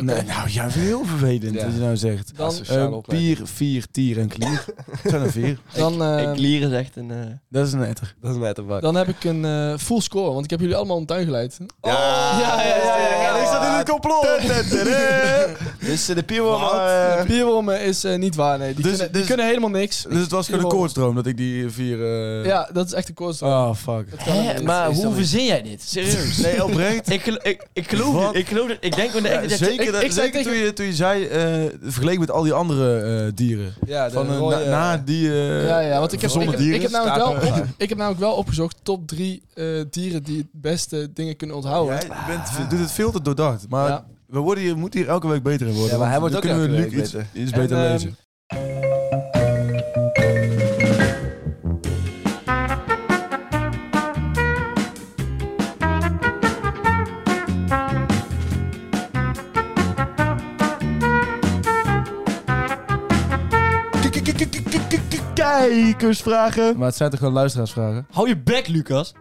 S3: nee, nou, jij bent heel vervelend
S2: Ja.
S3: wat je nou zegt.
S4: Dan,
S2: Sociale
S3: Eh,
S2: opleiding.
S3: pier, vier, tier en
S2: [laughs]
S3: klier. Het zijn er vier.
S4: dan, eh,
S5: ik Lier is echt een... eh,
S3: Dat is een etter.
S2: Dat is net een bak.
S4: dan heb ik een eh, full score, want ik heb jullie allemaal om tuin geleid.
S5: Ah,
S2: Ja,
S4: ja, ja, ja, ja, ja.
S2: Ik zat in het complot. dus eh, de pierworm... eh,
S4: De Pierwormen is eh, niet waar, nee. Die,
S3: Dus-
S4: kunnen, die
S3: dus-
S4: kunnen helemaal niks.
S3: Dus het was gewoon een
S4: Pierwormen.
S3: koortsdroom dat ik die vier... eh,
S4: Ja, dat is echt een koorts.
S3: Oh, fuck.
S4: Dat kan helemaal
S5: Hè,
S4: niet.
S5: maar
S4: Is
S5: hoe
S4: dat niet.
S5: verzin jij dit? Serieus.
S3: Nee, oprecht.
S5: ik, gel- ik, ik geloof
S3: Wat?
S5: dit. Ik geloof dit. Ik denk gewoon de
S3: Ja,
S5: echt dat jij-
S3: zeker
S4: ik-
S3: dat-
S4: ik zei
S3: zeker
S4: tegen-
S3: toen, je, toen je zei, eh, vergeleken met al die andere eh, dieren.
S2: Ja, de
S3: Van een
S2: rode-
S3: na, na die... eh,
S4: Ja, ja, want ik heb, ik,
S3: gezonde
S4: heb-
S3: dieren
S4: ik, heb namelijk
S3: staat
S4: wel
S3: er-
S4: op- [laughs] ik heb namelijk wel opgezocht top drie eh, dieren die het beste dingen kunnen onthouden.
S3: Jij bent, doet het veel te doordacht. Maar
S4: Ja.
S3: we worden hier, moeten hier elke week beter in worden.
S2: Ja, maar hij
S3: want
S2: wordt
S3: dan
S2: ook
S3: kunnen
S2: elke
S3: we
S2: week
S3: Luc
S2: beter.
S3: Iets, iets
S4: En,
S3: beter
S4: ehm,
S3: lezen.
S5: Kijkersvragen.
S3: Maar het zijn toch gewoon luisteraarsvragen?
S5: Hou je bek, Lucas.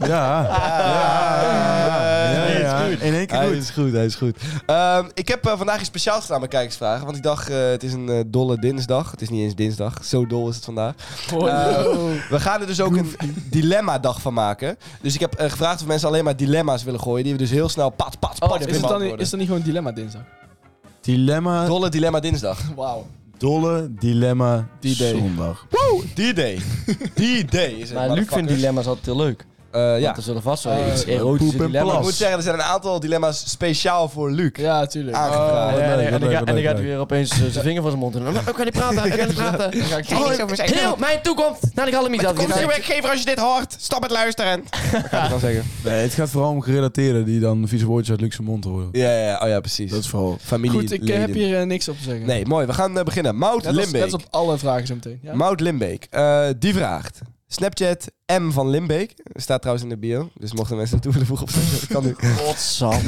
S3: Ja. Ja. Ja.
S2: nee,
S3: ja.
S2: het is goed.
S3: In één keer
S2: Hij
S3: goed.
S2: is goed, hij is goed. Ehm, ik heb eh, vandaag iets speciaals gedaan bij kijkersvragen. Want ik dacht, eh, het is een eh, dolle dinsdag. Het is niet eens dinsdag. Zo dol is het vandaag.
S4: Oh,
S2: Eh,
S4: no.
S2: We gaan er dus ook een dilemma-dag van maken. Dus ik heb eh, gevraagd of mensen alleen maar dilemma's willen gooien. Die we dus heel snel pat, pat, pat
S4: Oh, is, het dan, niet-
S2: beantwoorden.
S4: is dat niet gewoon dilemma dinsdag?
S3: Dilemma,
S2: Dolle dilemma dinsdag.
S4: Wauw.
S3: dolle dilemma
S4: Die day.
S3: zondag.
S2: [laughs] D-Day. D-Day is het.
S5: Maar Luc vindt
S2: motherfuckers.
S5: dilemma's altijd heel leuk.
S2: Eh,
S5: Ja.
S2: ja.
S5: Want er zullen vast wel
S4: Eh,
S5: iets erotische
S3: poep en
S5: dilemma's...
S2: Ik
S3: plas.
S2: moet zeggen, er zijn een aantal dilemma's speciaal voor Luc.
S4: Ja, tuurlijk. Oh,
S2: Aangevraagd.
S3: leuk,
S5: Ja, en-
S3: wat
S5: en
S3: leuk,
S5: dan ga-
S3: wat
S5: en dan
S3: leuk,
S5: gaat hij
S3: leuk.
S5: weer opeens eh, zijn vinger van zijn mond doen. Ik kan niet praten, ik kan niet praten. Dan ga ik
S2: Gooi-
S5: Heel, mijn toekomst. Nou, ik haal hem niet af.
S2: werkgever als je dit hoort. Stop met luisteren.
S4: [laughs]
S2: Dat kan ik wel zeggen.
S3: Nee, het gaat vooral om gerelateerden die dan vieze woordjes uit Luxe mond horen.
S2: Ja, ja, ja. Oh ja, precies.
S3: Dat is vooral...
S2: Familie
S4: Goed, ik eh, heb hier eh, niks op te zeggen.
S2: Nee, mooi. We gaan eh, beginnen. Mout
S4: Net als, net
S2: Limbeek.
S4: als op alle vragen zo meteen. Ja?
S2: Mout Limbeek. eh, die vraagt. Snapchat M van Limbeek. Staat trouwens in de bio. Dus mochten mensen het toe willen voegen op Snapchat, kan [laughs] nu.
S5: Godsamme.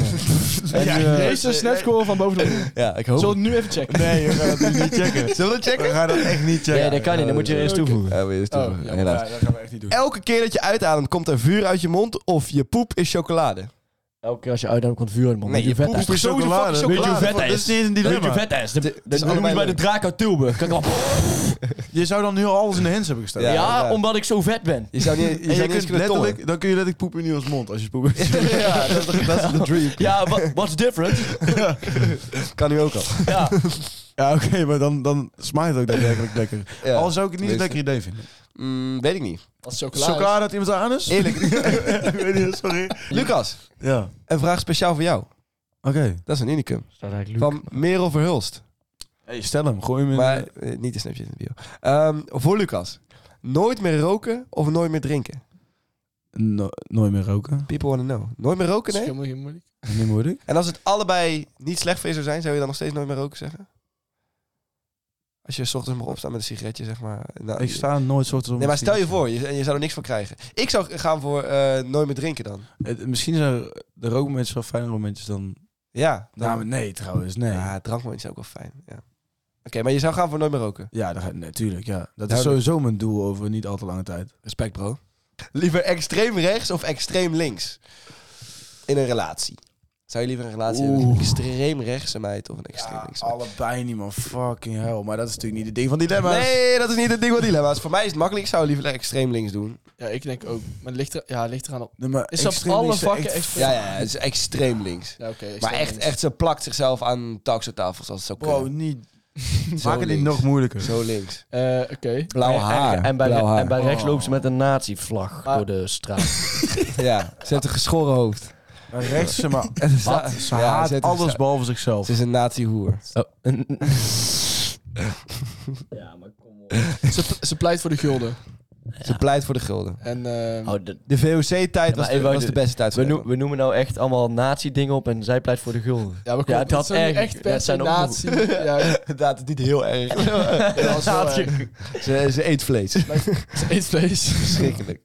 S4: En,
S5: Ja,
S4: eh, Deze snapscore van boven de honderd.
S2: Ja, ik
S4: Zullen we
S2: hoop.
S4: het nu even checken?
S3: Nee, we gaan dat niet checken.
S2: Zullen we dat
S3: We
S2: checken?
S3: gaan dat echt niet checken.
S5: Nee, dat kan niet. Dat moet je er eerst toevoegen.
S2: Ja, wil je dus
S4: Oh,
S2: toevoegen,
S4: ja,
S2: helaas.
S3: dat gaan we echt niet doen.
S2: Elke keer dat je uitademt, komt er vuur uit je mond of je poep is chocolade.
S5: Elke keer als je uitdamt, komt vuur in man.
S2: Nee, Oh, je poep is sowieso
S3: chocolade.
S2: fucking
S5: Weet je hoe
S2: chocolade.
S5: vet hij
S3: Dat
S5: is?
S3: is niet eens een
S5: Weet je
S3: dilemma.
S5: hoe vet hij is? De-
S2: is
S5: de- Dan moet je
S2: allebei
S5: bij de
S2: leuk.
S5: draak uit Tilburg. Kan ik wel-
S3: Je zou dan nu al alles in de hands hebben gestoken.
S2: Ja,
S5: Ja,
S2: inderdaad.
S5: omdat ik zo vet ben.
S2: Je zou niet, je
S3: En
S2: zou niet
S3: je
S2: eens
S3: kunt
S2: kunnen tongen.
S3: letterlijk, dan kun je letterlijk poepen in iemands mond als je poepen.
S2: ja, dat is toch- [laughs] dat is de dream.
S5: [laughs] Ja, wha- what's different?
S2: [laughs] Kan nu ook al.
S5: Ja.
S3: [laughs] ja, oké, maar dan, dan smaakt het ook daadwerkelijk lekker.
S2: [laughs] Ja.
S3: Al zou ik het niet
S2: Tenminste.
S3: een lekker idee vinden.
S2: Mm, weet ik niet.
S4: [laughs] Als chocola. is.
S3: Chocolade uit iemand aan is?
S2: Eerlijk.
S3: [laughs]
S2: [laughs]
S3: Ik weet niet, sorry.
S2: Lucas,
S3: Ja. Oké.
S2: een vraag speciaal voor jou. Dat is een unicum.
S5: Staat eigenlijk
S2: Van Merel Verhulst.
S3: Hey, stel hem. Gooi hem in.
S2: Maar eh, niet de Snapchat in de bio. Ehm, voor Lucas. Nooit meer roken of nooit meer drinken?
S3: No- nooit meer roken.
S2: People want to know. Nooit meer roken,
S4: Dat
S2: nee?
S4: is helemaal geen moeilijk.
S3: [laughs] Niet moeilijk.
S2: En als het allebei niet slecht voor je zou zijn, zou je dan nog steeds nooit meer roken zeggen? Als je 's ochtends mag opstaan met een sigaretje, zeg maar. Nou,
S3: Ik sta nooit soort
S2: Nee, maar stel je voor, je, en je zou er niks van krijgen. Ik zou gaan voor eh, nooit meer drinken dan.
S3: Het- misschien zijn de rookmomentjes wel fijnere momentjes dan...
S2: Ja. Dan,
S3: Nou, maar nee, trouwens, nee. Ja,
S2: Ja, drankmomentjes zijn ook wel fijn. Ja. Oké, maar je zou gaan voor nooit meer roken.
S3: natuurlijk, nee, tuurlijk, ja. Dat is
S2: Duidelijk.
S3: sowieso mijn doel over niet al te lange tijd.
S2: Respect, bro. Liever extreem rechts of extreem links? In een relatie. Zou je liever een relatie hebben met een extreem rechtse meid of een extreem linkse meid?
S3: allebei niet, man. Fucking hell. Maar dat is natuurlijk niet het ding van dilemma's.
S2: Nee, dat is niet het ding wat dilemma's. Voor mij is het makkelijk. Ik zou liever extreem links doen.
S4: Ja, ik denk ook. Maar het ligt, er, ja, het ligt eraan op.
S3: Nee, maar
S4: Is op
S3: extreem
S4: alle
S3: links,
S4: vakken
S3: echt
S4: extreem-
S2: Ja, ja, het is extreem links.
S4: Ja, oké. ik
S2: Maar
S4: snap
S2: echt,
S4: het.
S2: echt, ze plakt zichzelf aan taxotafels als het zou
S3: Wow,
S2: kunnen.
S3: [laughs] niet.
S2: Zo
S3: Maak het niet
S2: links.
S3: nog moeilijker.
S2: Zo links.
S4: Eh, oké.
S2: Blauw haar.
S5: [laughs] En bij,
S2: Blauw haar.
S5: en bij rechts lopen ze met een nazi-vlag
S4: Maar-
S5: door de straat. [laughs]
S2: Ja, ze heeft een geschoren hoofd.
S3: Maar rechts, zeg maar
S2: Wat?
S3: ze
S2: Ja,
S3: haat
S2: ze heeft een
S3: alles
S2: gesta-
S3: behalve zichzelf.
S2: Ze is een natiehoer.
S5: Oh,
S4: Ze, ze pleit voor de gulden.
S2: Ze pleit voor de gulden.
S4: En eh,
S5: Oh, de-
S2: De VOC-tijd was,
S5: maar
S2: de,
S5: even-
S2: was de beste tijd
S5: we,
S2: van
S5: noem- we noemen nou echt allemaal nazi-dingen op en zij pleit voor de [laughs] gulden.
S4: ja, maar kom,
S5: Ja,
S4: het
S5: dat
S4: is ook niet
S5: erg.
S4: echt per
S5: Dat zijn
S4: se
S5: ook nog-
S4: nazi. [laughs]
S2: [laughs]
S4: Ja,
S2: Inderdaad, niet heel erg.
S4: dat is wel, eh,
S2: ze, ze eet vlees.
S4: [laughs] ze eet vlees.
S2: Verschrikkelijk.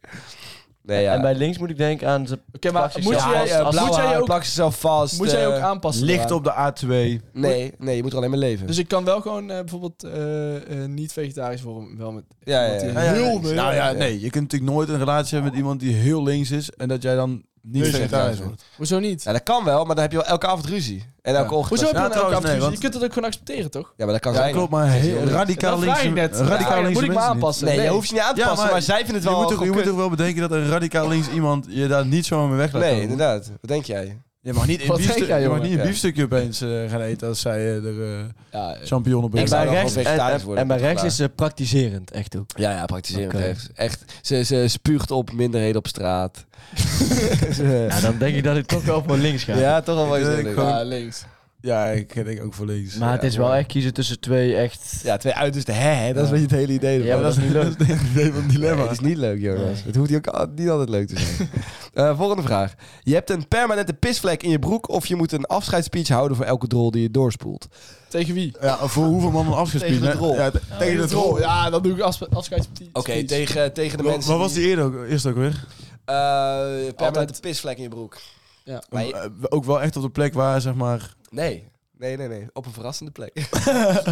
S2: Nee, ja.
S5: En bij links moet ik denken aan ze.
S4: Oké, maar
S5: Plakt
S4: moet
S5: zichzelf
S4: jij, eh,
S5: vast als-
S4: moet jij ook,
S2: plakt zichzelf vast.
S4: moet jij ook
S2: eh,
S4: aanpassen?
S3: Licht
S4: daaraan?
S3: op de A2.
S2: Nee, nee, je moet er alleen maar leven.
S4: Dus ik kan wel gewoon eh, bijvoorbeeld eh, eh, niet vegetarisch worden. Wel met,
S2: ja, ja, ja.
S4: iemand die
S3: Nou ja,
S4: heel
S3: nee.
S4: veel-
S3: nou ja, nee. Je kunt natuurlijk nooit een relatie hebben met iemand die heel links is en dat jij dan niet vegetarisch wordt.
S4: Hoezo niet?
S2: Ja, dat kan wel, maar dan heb je wel elke avond ruzie. En elke
S3: Ja.
S2: ochtend.
S4: Hoezo heb je dan
S3: Ja,
S4: elke
S3: trouwens,
S4: avond
S3: nee,
S4: ruzie?
S3: want-
S4: Je kunt dat ook gewoon accepteren, toch?
S2: Ja, maar dat kan
S3: Ja,
S2: zijn.
S3: klopt, maar
S2: heel
S3: heel
S2: links.
S3: radicaal
S4: Dat vraag
S3: links.
S4: ik net.
S3: Radicaal
S4: Ja,
S3: links.
S4: moet ik me
S3: mensen niet.
S4: aanpassen?
S2: Nee, je hoeft je niet aan te
S3: Ja,
S2: passen, maar,
S3: maar
S2: zij vinden het
S3: Je
S2: wel
S3: moet, toch,
S2: gewoon
S3: je moet
S2: kut.
S3: toch wel bedenken dat een radicaal links iemand je daar niet zomaar mee weg laat
S2: Nee,
S3: komen.
S2: inderdaad. Wat denk jij?
S3: Je mag niet een
S4: Wat
S3: biefstuk-
S4: denk jij,
S3: je mag
S4: jongen?
S3: niet een
S2: Ja.
S3: biefstukje opeens eh, gaan eten als zij eh, er eh
S4: Ja, eh,
S3: champignon op
S2: Ik
S5: En bij
S2: zou dan
S5: rechts,
S2: gewoon
S5: en,
S2: vegetarisch
S5: en-
S2: worden,
S5: en bij
S2: dat is
S5: rechts
S2: waar.
S5: is ze praktiserend, echt ook.
S2: Ja, ja, praktiserend
S5: Oké.
S2: rechts. Echt, ze, ze spuugt op minderheden op straat.
S5: [laughs] Ja, Nou, dan denk ik dat ik toch wel voor links ga.
S2: [laughs] Ja, toch al wel
S3: Ik
S2: eens
S3: denk
S2: leuk.
S3: gewoon-
S4: ja, links.
S3: Ja, ik denk ook voor links.
S5: Maar het is wel echt kiezen tussen twee echt...
S2: Ja, twee uiterste. Hè, hè, dat is wat je het hele idee ervan.
S5: Ja, maar dat is
S2: [laughs]
S5: niet leuk.
S3: het idee van
S2: Nee,
S3: het dilemma.
S2: het is niet leuk, Jonas.
S5: Nee.
S2: Het hoeft ook al- niet altijd leuk te [laughs] zijn. Eh, volgende vraag. Je hebt een permanente pisvlek in je broek... of je moet een afscheidsspeech houden voor elke drol die je doorspoelt.
S4: Tegen wie?
S3: Ja, voor hoeveel mannen afgespeeld?
S2: Tegen de
S3: hè?
S2: drol.
S3: Ja, te- tegen de drol. Wa-
S4: Ja, dan doe ik afspe- afscheidspartij.
S2: tegen, tegen de eh,
S3: Wat was die eerder ook, eerst ook weer?
S2: permanente
S4: Altijd.
S2: pisvlek in je broek.
S4: Ja.
S2: Maar je-
S3: Eh, Ook wel echt op de plek waar, zeg maar...
S2: nee. Nee, nee, nee. Op een verrassende plek. [laughs]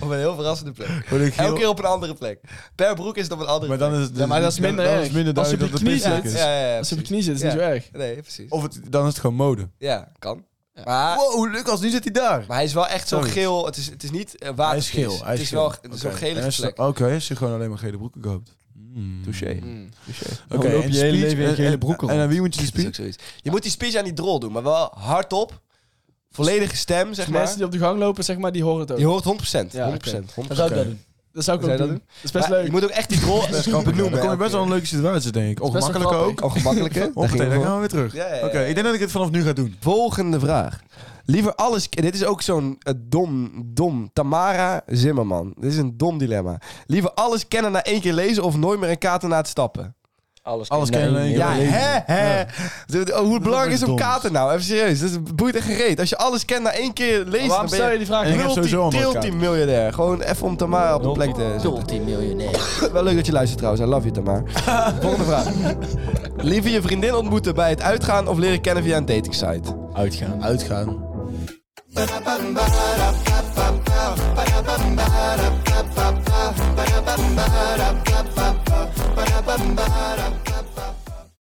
S2: op een heel verrassende plek.
S3: word ik heel-
S2: Elke keer op een andere plek. Per broek is het op een andere
S3: Maar dan is het... dus
S4: Ja, maar dat is minder
S3: dan
S4: erg.
S3: is minder
S4: Als je
S3: duidelijk dat
S4: op je
S3: het
S4: knie
S3: pisselijk
S2: plek.
S3: is.
S2: Ja, ja, ja,
S4: Als je op je
S2: precies.
S4: knie zit, is het
S2: Ja.
S4: niet zo erg.
S2: Nee, precies.
S3: Of het, dan is het gewoon mode.
S2: Ja, kan. Maar,
S3: Wow, Lucas, nu zit hij daar.
S2: maar hij is wel echt zo
S3: Sorry.
S2: geel. Het is, het is niet eh,
S3: Hij is
S2: watergis.
S3: geel. Hij
S2: het
S3: is
S2: is
S3: geel.
S2: wel ge- zo'n
S3: Oké.
S2: gele
S3: En is- oh,
S2: vlek.
S3: Oké, als je gewoon alleen maar gele broeken koopt. Mm.
S4: Mm.
S3: Oké,
S5: Dan loop
S3: en
S5: je hele
S3: speech-
S5: leven in
S3: en-
S5: gele
S3: en-
S5: broeken
S3: En
S5: rond.
S3: aan wie moet je die
S2: Dat is ook
S3: speech?
S2: zoiets. Je moet die speech aan die drol doen, maar wel hardop. Volledige stem, zeg
S4: Dus
S2: maar.
S4: mensen die op de gang lopen, zeg maar, die horen het ook.
S2: Je hoort 100%. 100%.
S4: Ja,
S2: 100%.
S5: Dan zou ik dat doen.
S4: Dat zou ik
S2: Zou
S4: ook
S2: je dat
S4: doen.
S2: doen?
S4: Dat is best
S2: Maar
S4: leuk.
S2: Je moet ook echt die
S3: [laughs]
S2: drol
S3: Dan
S2: benoemen.
S3: kom je best wel in een leuke situatie, denk ik.
S4: wel
S3: Ongemakkelijke ook.
S4: grappig.
S3: [laughs]
S2: ongemakkelijke. Daar
S3: Hoppatee,
S2: ging
S3: dan
S2: het
S3: gaan
S2: om.
S3: we weer terug.
S2: Ja, ja, ja.
S3: Oké, ik denk dat ik het vanaf nu ga doen.
S2: Volgende vraag. Liever alles... Dit is ook zo'n eh, dom, dom. Tamara Zimmerman. Dit is een dom dilemma. Liever alles kennen na één keer lezen of nooit meer een kater na het stappen.
S5: Alles,
S3: Alles kennen in één
S2: Ja,
S3: keer. lezen.
S2: hè, hè. Oh, hoe belangrijk is
S3: echt
S2: om
S3: doms.
S2: kater nou? Even serieus. Dat boeit echt gereed. Als je alles kent na één keer lezen, dan
S4: Waarom
S2: ben
S4: stel
S2: je...
S4: je die vraag?
S3: En ik heb
S2: Multi-
S3: sowieso allemaal
S2: multi- miljardair. Gewoon even om Tamara op de plek te zetten.
S5: Multimiljonair.
S2: [laughs] Wel leuk dat je luistert trouwens. I love you,
S4: [laughs]
S2: Tamara. Volgende vraag. Liever je vriendin ontmoeten bij het uitgaan of leren kennen via een datingsite?
S5: Uitgaan.
S3: Uitgaan.